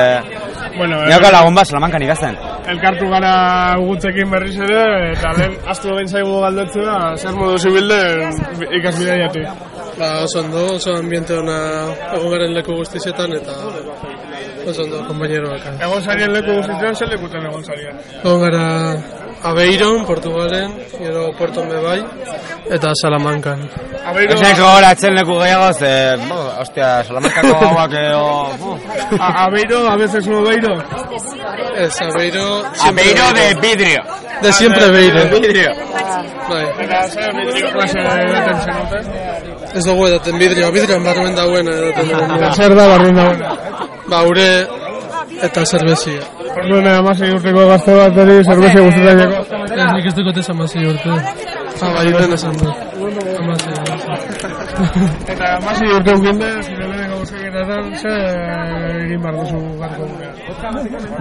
Speaker 2: Bueno, eh,
Speaker 25: Neoka lagun bat Salamankan ikasten.
Speaker 2: elkartu gara gutzekin berriz ere, eta lehen astu egin zaigu galdetzea, zer modu zibilden ikasbidea
Speaker 26: Ba, oso ondo, oso ambiente ona egon garen leku guztietan eta oso ondo, kompañeroak.
Speaker 2: Egon zarien leku guztietan, zer lekuten egon zarien?
Speaker 26: Egon gara Abeiron, Portugalen, gero Puerton Bebai, eta Salamankan.
Speaker 2: Abeiron-
Speaker 25: Ez nahiko goratzen leku gehiagoz, eh, bo, ostia, Salamankako hauak, eh, o...
Speaker 2: A- Abeiro, a veces no Abeiro.
Speaker 26: Ez, Abeiro...
Speaker 25: Abeiro de vidrio.
Speaker 26: De
Speaker 2: Ah,
Speaker 26: siempre Abeiro.
Speaker 25: De vidrio.
Speaker 26: Bai.
Speaker 2: Eta zer vidrio klase edaten zenuten?
Speaker 26: Ez dugu edaten bidrioa, bidrioan barrumen dagoen edaten dugu.
Speaker 27: Zer da barrien dagoen?
Speaker 26: Ba, ure eta zerbezia.
Speaker 2: Orduan, amasei urteko gazte bat eri, zerbezia guztetan jako.
Speaker 26: Ez nik ez dukot ez amazei urte. Ah, bai, den esan du. Amazei urte.
Speaker 2: Eta amasei urte ukinde, zire lehenko guztekenetan, ze eh, egin behar duzu ganko.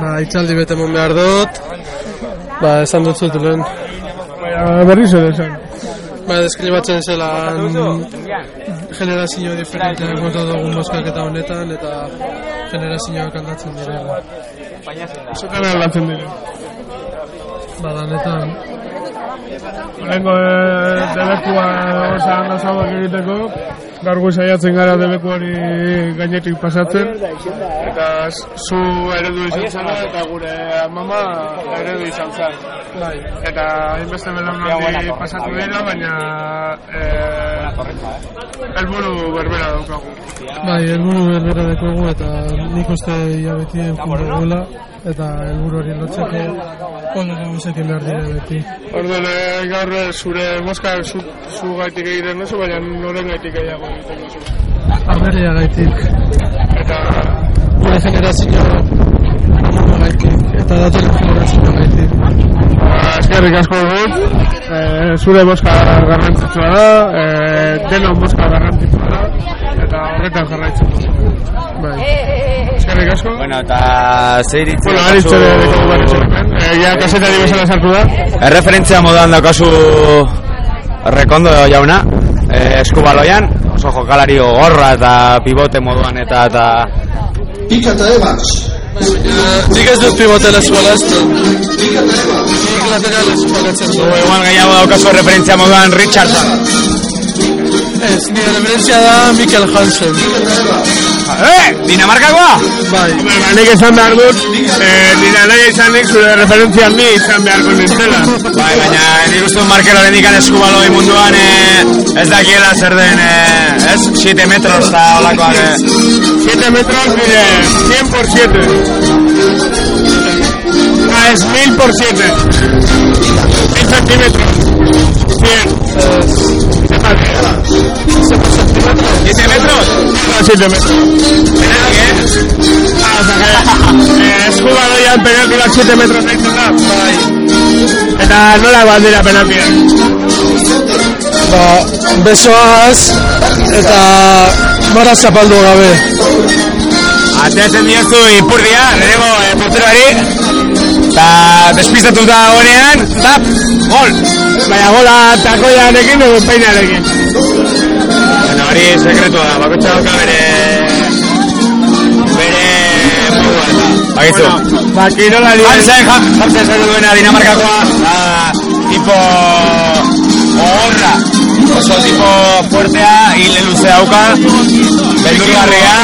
Speaker 26: Ba, itzaldi bete mon behar dut. Ba, esan dut zut lehen.
Speaker 2: Baina, berriz ere esan.
Speaker 26: Ba, deskribatzen zela generazio diferentea kontra dugun boskaketa honetan, eta generazioak aldatzen dira.
Speaker 2: Zetan aldatzen dira.
Speaker 26: Ba, lanetan.
Speaker 2: Lehenko eh, debekua osa handa zabak egiteko, gaur gu saiatzen gara debekuari gainetik pasatzen, eta zu eredu izan eh? zara, eh? eta gure mama eredu izan zen. Bai, Eta hainbeste belaunaldi Bai. pasatu dira, baina eh, helburu berbera daukagu.
Speaker 26: Bai, helburu berbera dekogu eta nik uste ia beti enkundu duela eta helburu hori lotzeko ondo gauzekin behar dira beti.
Speaker 2: Orduan, eh, gaur eh, zure moska zu, zu gaitik egiten duzu, baina noren gaitik gehiago egiten duzu.
Speaker 26: Aberria gaitik.
Speaker 2: Eta
Speaker 26: Gure generazio amama gaitik eta datorren generazio gaitik.
Speaker 2: ba, eskerrik asko dut, eh, zure boska garrantzitsua da, eh, denon boska garrantzitsua da, eta horretan jarraitzen duzu. Bai. Eskerrik asko.
Speaker 3: Bueno, eta zer itzen
Speaker 2: Bueno, ari txore dugu behar etxerepen. Eh, ja, kasetari bezala sartu da.
Speaker 3: Erreferentzia modan daukazu rekondo jauna, eh, eskubaloian, oso jokalari gorra eta pivote moduan eta eta
Speaker 26: Pika eta ebas. Nik ez dut pivotela eskolaztu. Pika eta ebas. Nik lateral eskolatzen du.
Speaker 3: igual gehiago daukazu referentzia moduan Richardson.
Speaker 26: Ez, nire referentzia da Mikel Hansen.
Speaker 3: Eh, Dinamarkakoa?
Speaker 26: Bai.
Speaker 2: Ba, nik esan behar dut, eh, nire nahi izanik zure referentzia ni izan beharko nintzela.
Speaker 3: Bai, baina nik uste dut markeloren ikan eskubaloi munduan eh, ez dakiela zer den, eh, ez? 7 metros eta olakoak. Eh.
Speaker 2: 7 metros, mire, 100 por 7. Ah, es 1000 por 7. 10 centímetros. 100. ¿Qué tal?
Speaker 3: ¿7 metros?
Speaker 2: No, 7 metros. Ah, o sea que eh, eskubaloian penaltiak 7 metros nahi da. eh, Bai. Eta nola bat dira penaltiak?
Speaker 26: Ba, besoaz eta bara zapaldu gabe.
Speaker 3: Ateratzen diozu ipurdia, lehenengo eh, porteroari. Eta despistatuta gonean, tap, gol.
Speaker 2: Baina gola takoiarekin edo peinarekin.
Speaker 3: Bueno, hori sekretua da, bakoitza dauka bere... Bere... modua eta... Bakizu.
Speaker 2: Ba, kirolari...
Speaker 3: Hansen, ja- Hansen zer duena Dinamarkakoa, da, tipo... Ogorra. Oso tipo fuertea, hile luze dauka, berkigarria,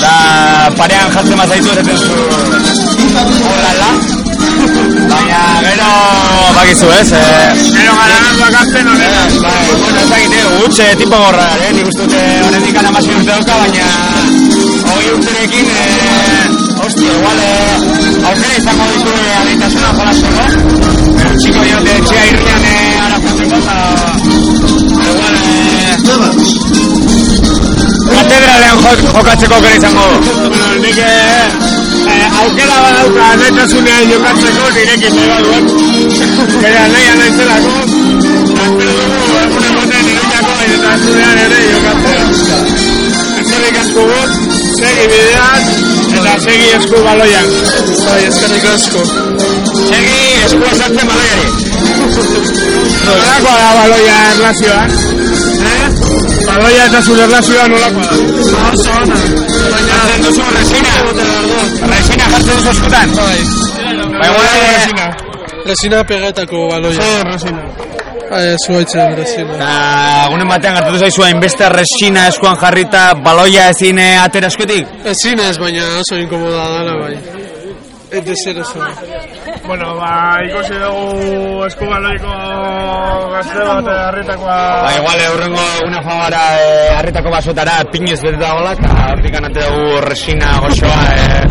Speaker 3: da parean jartzen bazaitu ez zu... Horrala. Baina, gero... Bakizu ez, eh...
Speaker 2: Gero gara bakartzen horretan.
Speaker 3: Bai, bueno, ez dakite, gutxe tipo gorra, eh? Nik uste dute honetik anamasi urte dauka, baina hogei urterekin, eh, hostia, igual, eh, aukera izango ditu eh, aditasuna jolasteko. Pero txiko diote etxea irrian eh, ara jotzeko, eta igual, eh, katedralean jo- jokatzeko aukera izango du.
Speaker 2: Nik eh, eh, aukera badauka netasunean jokatzeko nirekin nahi baduan. Gara nahian nahizelako, espero dugu egun egoten iruñako netasunean ere jokatzea. Eskerrik asko gut, segi bidean, eta segi esku baloian.
Speaker 26: Bai, eskerrik asko.
Speaker 3: Segi eskua sartzen baloiari.
Speaker 2: Nolakoa da baloia erlazioan?
Speaker 3: Bai.
Speaker 2: Eh? Baloia eta zure erlazioa nolakoa da?
Speaker 26: Oso ona.
Speaker 3: Baina... duzu resina. Resina jartzen duzu eskutan. Bai,
Speaker 26: resina. Resina pegatako baloia. Zer
Speaker 2: resina.
Speaker 26: Eh, zuaitzen resina.
Speaker 3: Eta egunen batean gertatu zaizu hainbeste resina eskuan jarrita baloia ezin eh, atera eskutik?
Speaker 26: Ezin ez, baina oso inkomoda dala, bai. Eta zer oso.
Speaker 2: Bueno, ba, ikusi dugu eskubaloiko gazte bat harritakoa...
Speaker 3: Ba, igual, eurrengo una fabara eh, harritako basotara pinez beteta gola, eta hortik anate dugu resina goxoa eh,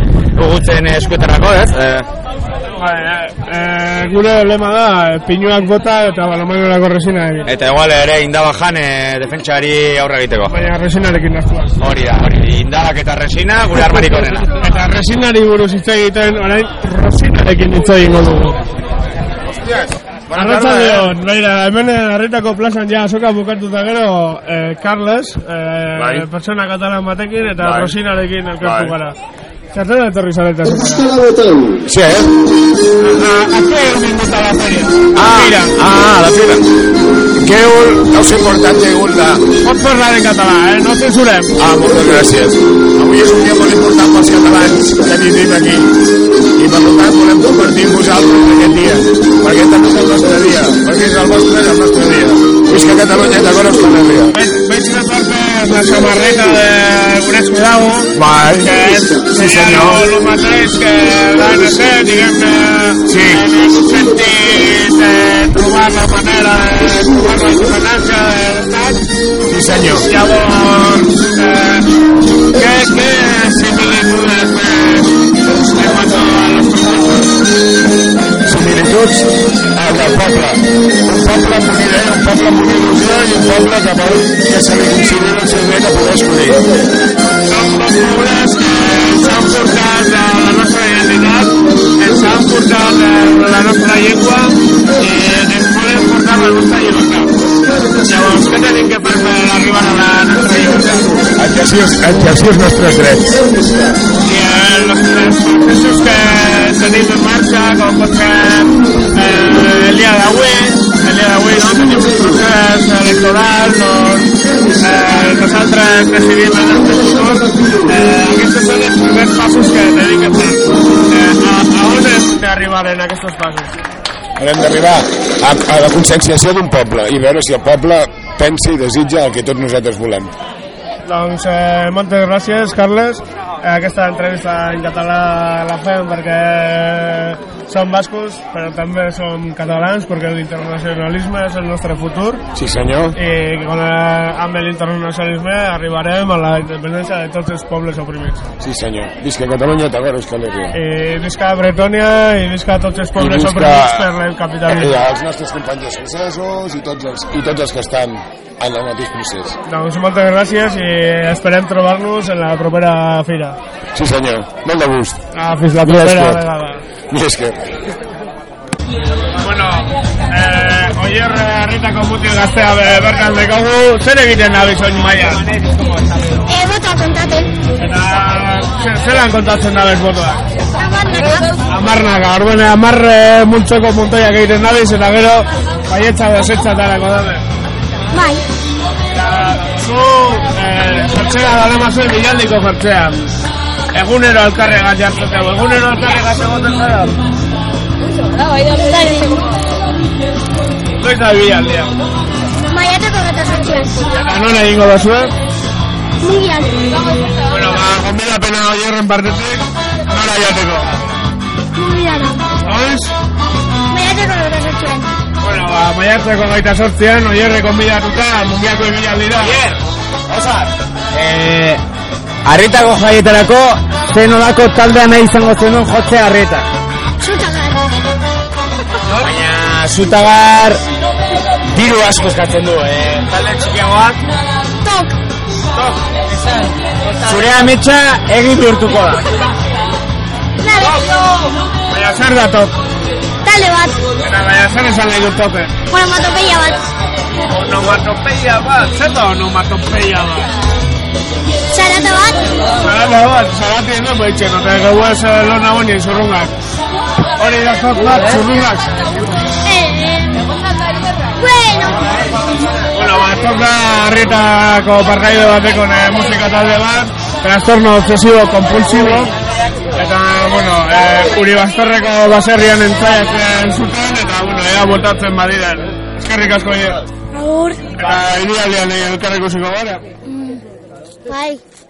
Speaker 3: ugutzen eskuetarako, ez? Eh,
Speaker 2: E, gure lema da, eh, pinuak bota eta balomaiorako resina egin.
Speaker 10: Eta igual ere indabajan eh, defentsari aurre egiteko.
Speaker 2: Baina resinarekin naztua.
Speaker 10: Hori da, hori indabak eta resina gure armarik onena.
Speaker 2: Eta resinari buruz hitz egiten, orain resinarekin hitz egingo dugu. Arratxaldeon, beira, hemen harritako plazan ja azoka bukatuta gero eh, Carles, eh,
Speaker 1: Bai.
Speaker 2: pertsona katalan batekin eta
Speaker 1: Bai.
Speaker 2: Rosinarekin elkartu
Speaker 1: Bai.
Speaker 2: gara. Zertan etorri zareta azokara?
Speaker 1: Sí, ¿eh? Ah, ah, la fiera. Que un, no sé importante un la...
Speaker 2: Pot parlar en català, eh? No censurem.
Speaker 1: Ah, moltes gràcies. Avui és un dia molt important pels catalans que vivim aquí. I per tant volem compartir amb vosaltres aquest dia. Perquè també és el nostre dia. Perquè és el vostre i el nostre dia. Visca Catalunya, d'acord, Euskal
Speaker 2: Veig una parte la samarreta de UNESCO Dago,
Speaker 1: Bai,
Speaker 2: que és
Speaker 1: sí senyor.
Speaker 2: el mateix que l'ANC, diguem-ne, sí. en un sentit de trobar la manera de trobar la independència de l'Estat.
Speaker 1: Sí senyor.
Speaker 2: Llavors, eh, què, què similitudes més en cuanto a los procesos?
Speaker 1: Similituds al del poble. Un poble amb una idea, un poble amb una il·lusió i un poble que vol que se li consideri el seu dret a poder escollir.
Speaker 2: Som dos pobres que ens han portat a la nostra identitat, ens han portat a la nostra llengua i ens volen portar la nostra llibertat. Llavors, què tenim que fer per arribar a la nostra llibertat?
Speaker 1: Exercir, els- exercir els nostres drets.
Speaker 2: I eh, los tres processos que tenim en marxa, com pot ser eh, el dia d'avui, el dia d'avui no tenim un procés electoral on eh, nosaltres decidim el nostre futur, eh, aquests són els primers passos que tenim que fer. Eh, a, a on hem d'arribar en aquests passos?
Speaker 1: Haurem d'arribar a, a la conscienciació d'un poble i veure si el poble pensa i desitja el que tots nosaltres volem.
Speaker 2: Doncs eh, moltes gràcies, Carles. Eh, Aquesta entrevista en català la fem perquè som bascos, però també som catalans, perquè l'internacionalisme és el nostre futur.
Speaker 1: Sí, senyor.
Speaker 2: I con, eh, amb l'internacionalisme arribarem a la independència de tots els pobles oprimits.
Speaker 1: Sí, senyor. Visca Catalunya, Tagaro, Euskal Herria.
Speaker 2: I visca Bretònia i visca Eh, tots els pobles
Speaker 1: visca-
Speaker 2: oprimits per el
Speaker 1: I
Speaker 2: capitalisme.
Speaker 1: eh, els nostres companys francesos i tots els, i tots els que estan en el mateix procés.
Speaker 2: Doncs moltes gràcies i esperem trobar-nos en la propera fira.
Speaker 1: Sí, senyor. Molt de gust.
Speaker 2: Ah, fins la propera
Speaker 1: Mila esker.
Speaker 2: vegada.
Speaker 1: Mila esker.
Speaker 2: Bueno, eh, oier herritako mutil gaztea be- bertan dekogu, zer egiten da bizoin maia?
Speaker 4: Ebota kontaten.
Speaker 2: Ze- Zelan kontatzen da bez botoa? Amarnaka,
Speaker 4: Amarnaka.
Speaker 2: orduan amar eh, multzoko montoiak egiten da biz, eta gero baietza desetza tarako daude.
Speaker 4: Bai.
Speaker 2: Zu, eh, jertzera dara mazuen bilaldiko jertzean. Egunero alkarrega jartzeko, egunero alkarrega zegoten gara. Noiz da bilaldia.
Speaker 4: Maiateko gata sortzian.
Speaker 2: Eta nola egingo da zuen?
Speaker 4: Mungian.
Speaker 2: Bueno, ba, gombidapena oierren partetik, nola jateko.
Speaker 4: Mungian.
Speaker 2: Noiz?
Speaker 4: Maiateko gata sortzian.
Speaker 2: Bueno, ba, maiatzeko gaita sortzean, oierre konbidatuta, mungiako ibilaldi da. Oier, osa!
Speaker 8: Eh, arretako jaietarako, zen olako taldea nahi izango zenuen jotze arreta.
Speaker 4: Zutagar.
Speaker 8: Baina, zutagar, diru asko eskatzen du, eh. Talde txikiagoak.
Speaker 4: Tok.
Speaker 8: Tok. Zure ametsa egin bihurtuko da.
Speaker 2: Baina zer da top?
Speaker 4: Talde bat.
Speaker 2: Eta baina zer esan nahi dut tope?
Speaker 4: Bueno, matopeia bat.
Speaker 2: Onomatopeia bat, zer da onomatopeia bat?
Speaker 4: Zarata bat.
Speaker 2: Zarata bat, zarati eno baitzen, eta gau ez eh, lona honi zurrungak. Hori da top bat, zurrungak.
Speaker 4: Eh, Bueno.
Speaker 2: Bueno, ba, top da harrietako parkaide bateko ne, musika talde bat, trastorno obsesivo compulsivo, eta, bueno, eh, Uri Bastorreko baserrian entzaiatzen zuten, eta, bueno, ea botatzen badiren. Eskerrik asko, eh, Ier.
Speaker 4: Agur. Mm.
Speaker 2: Eta, idealian elkarreko ziko gara.
Speaker 4: Bai.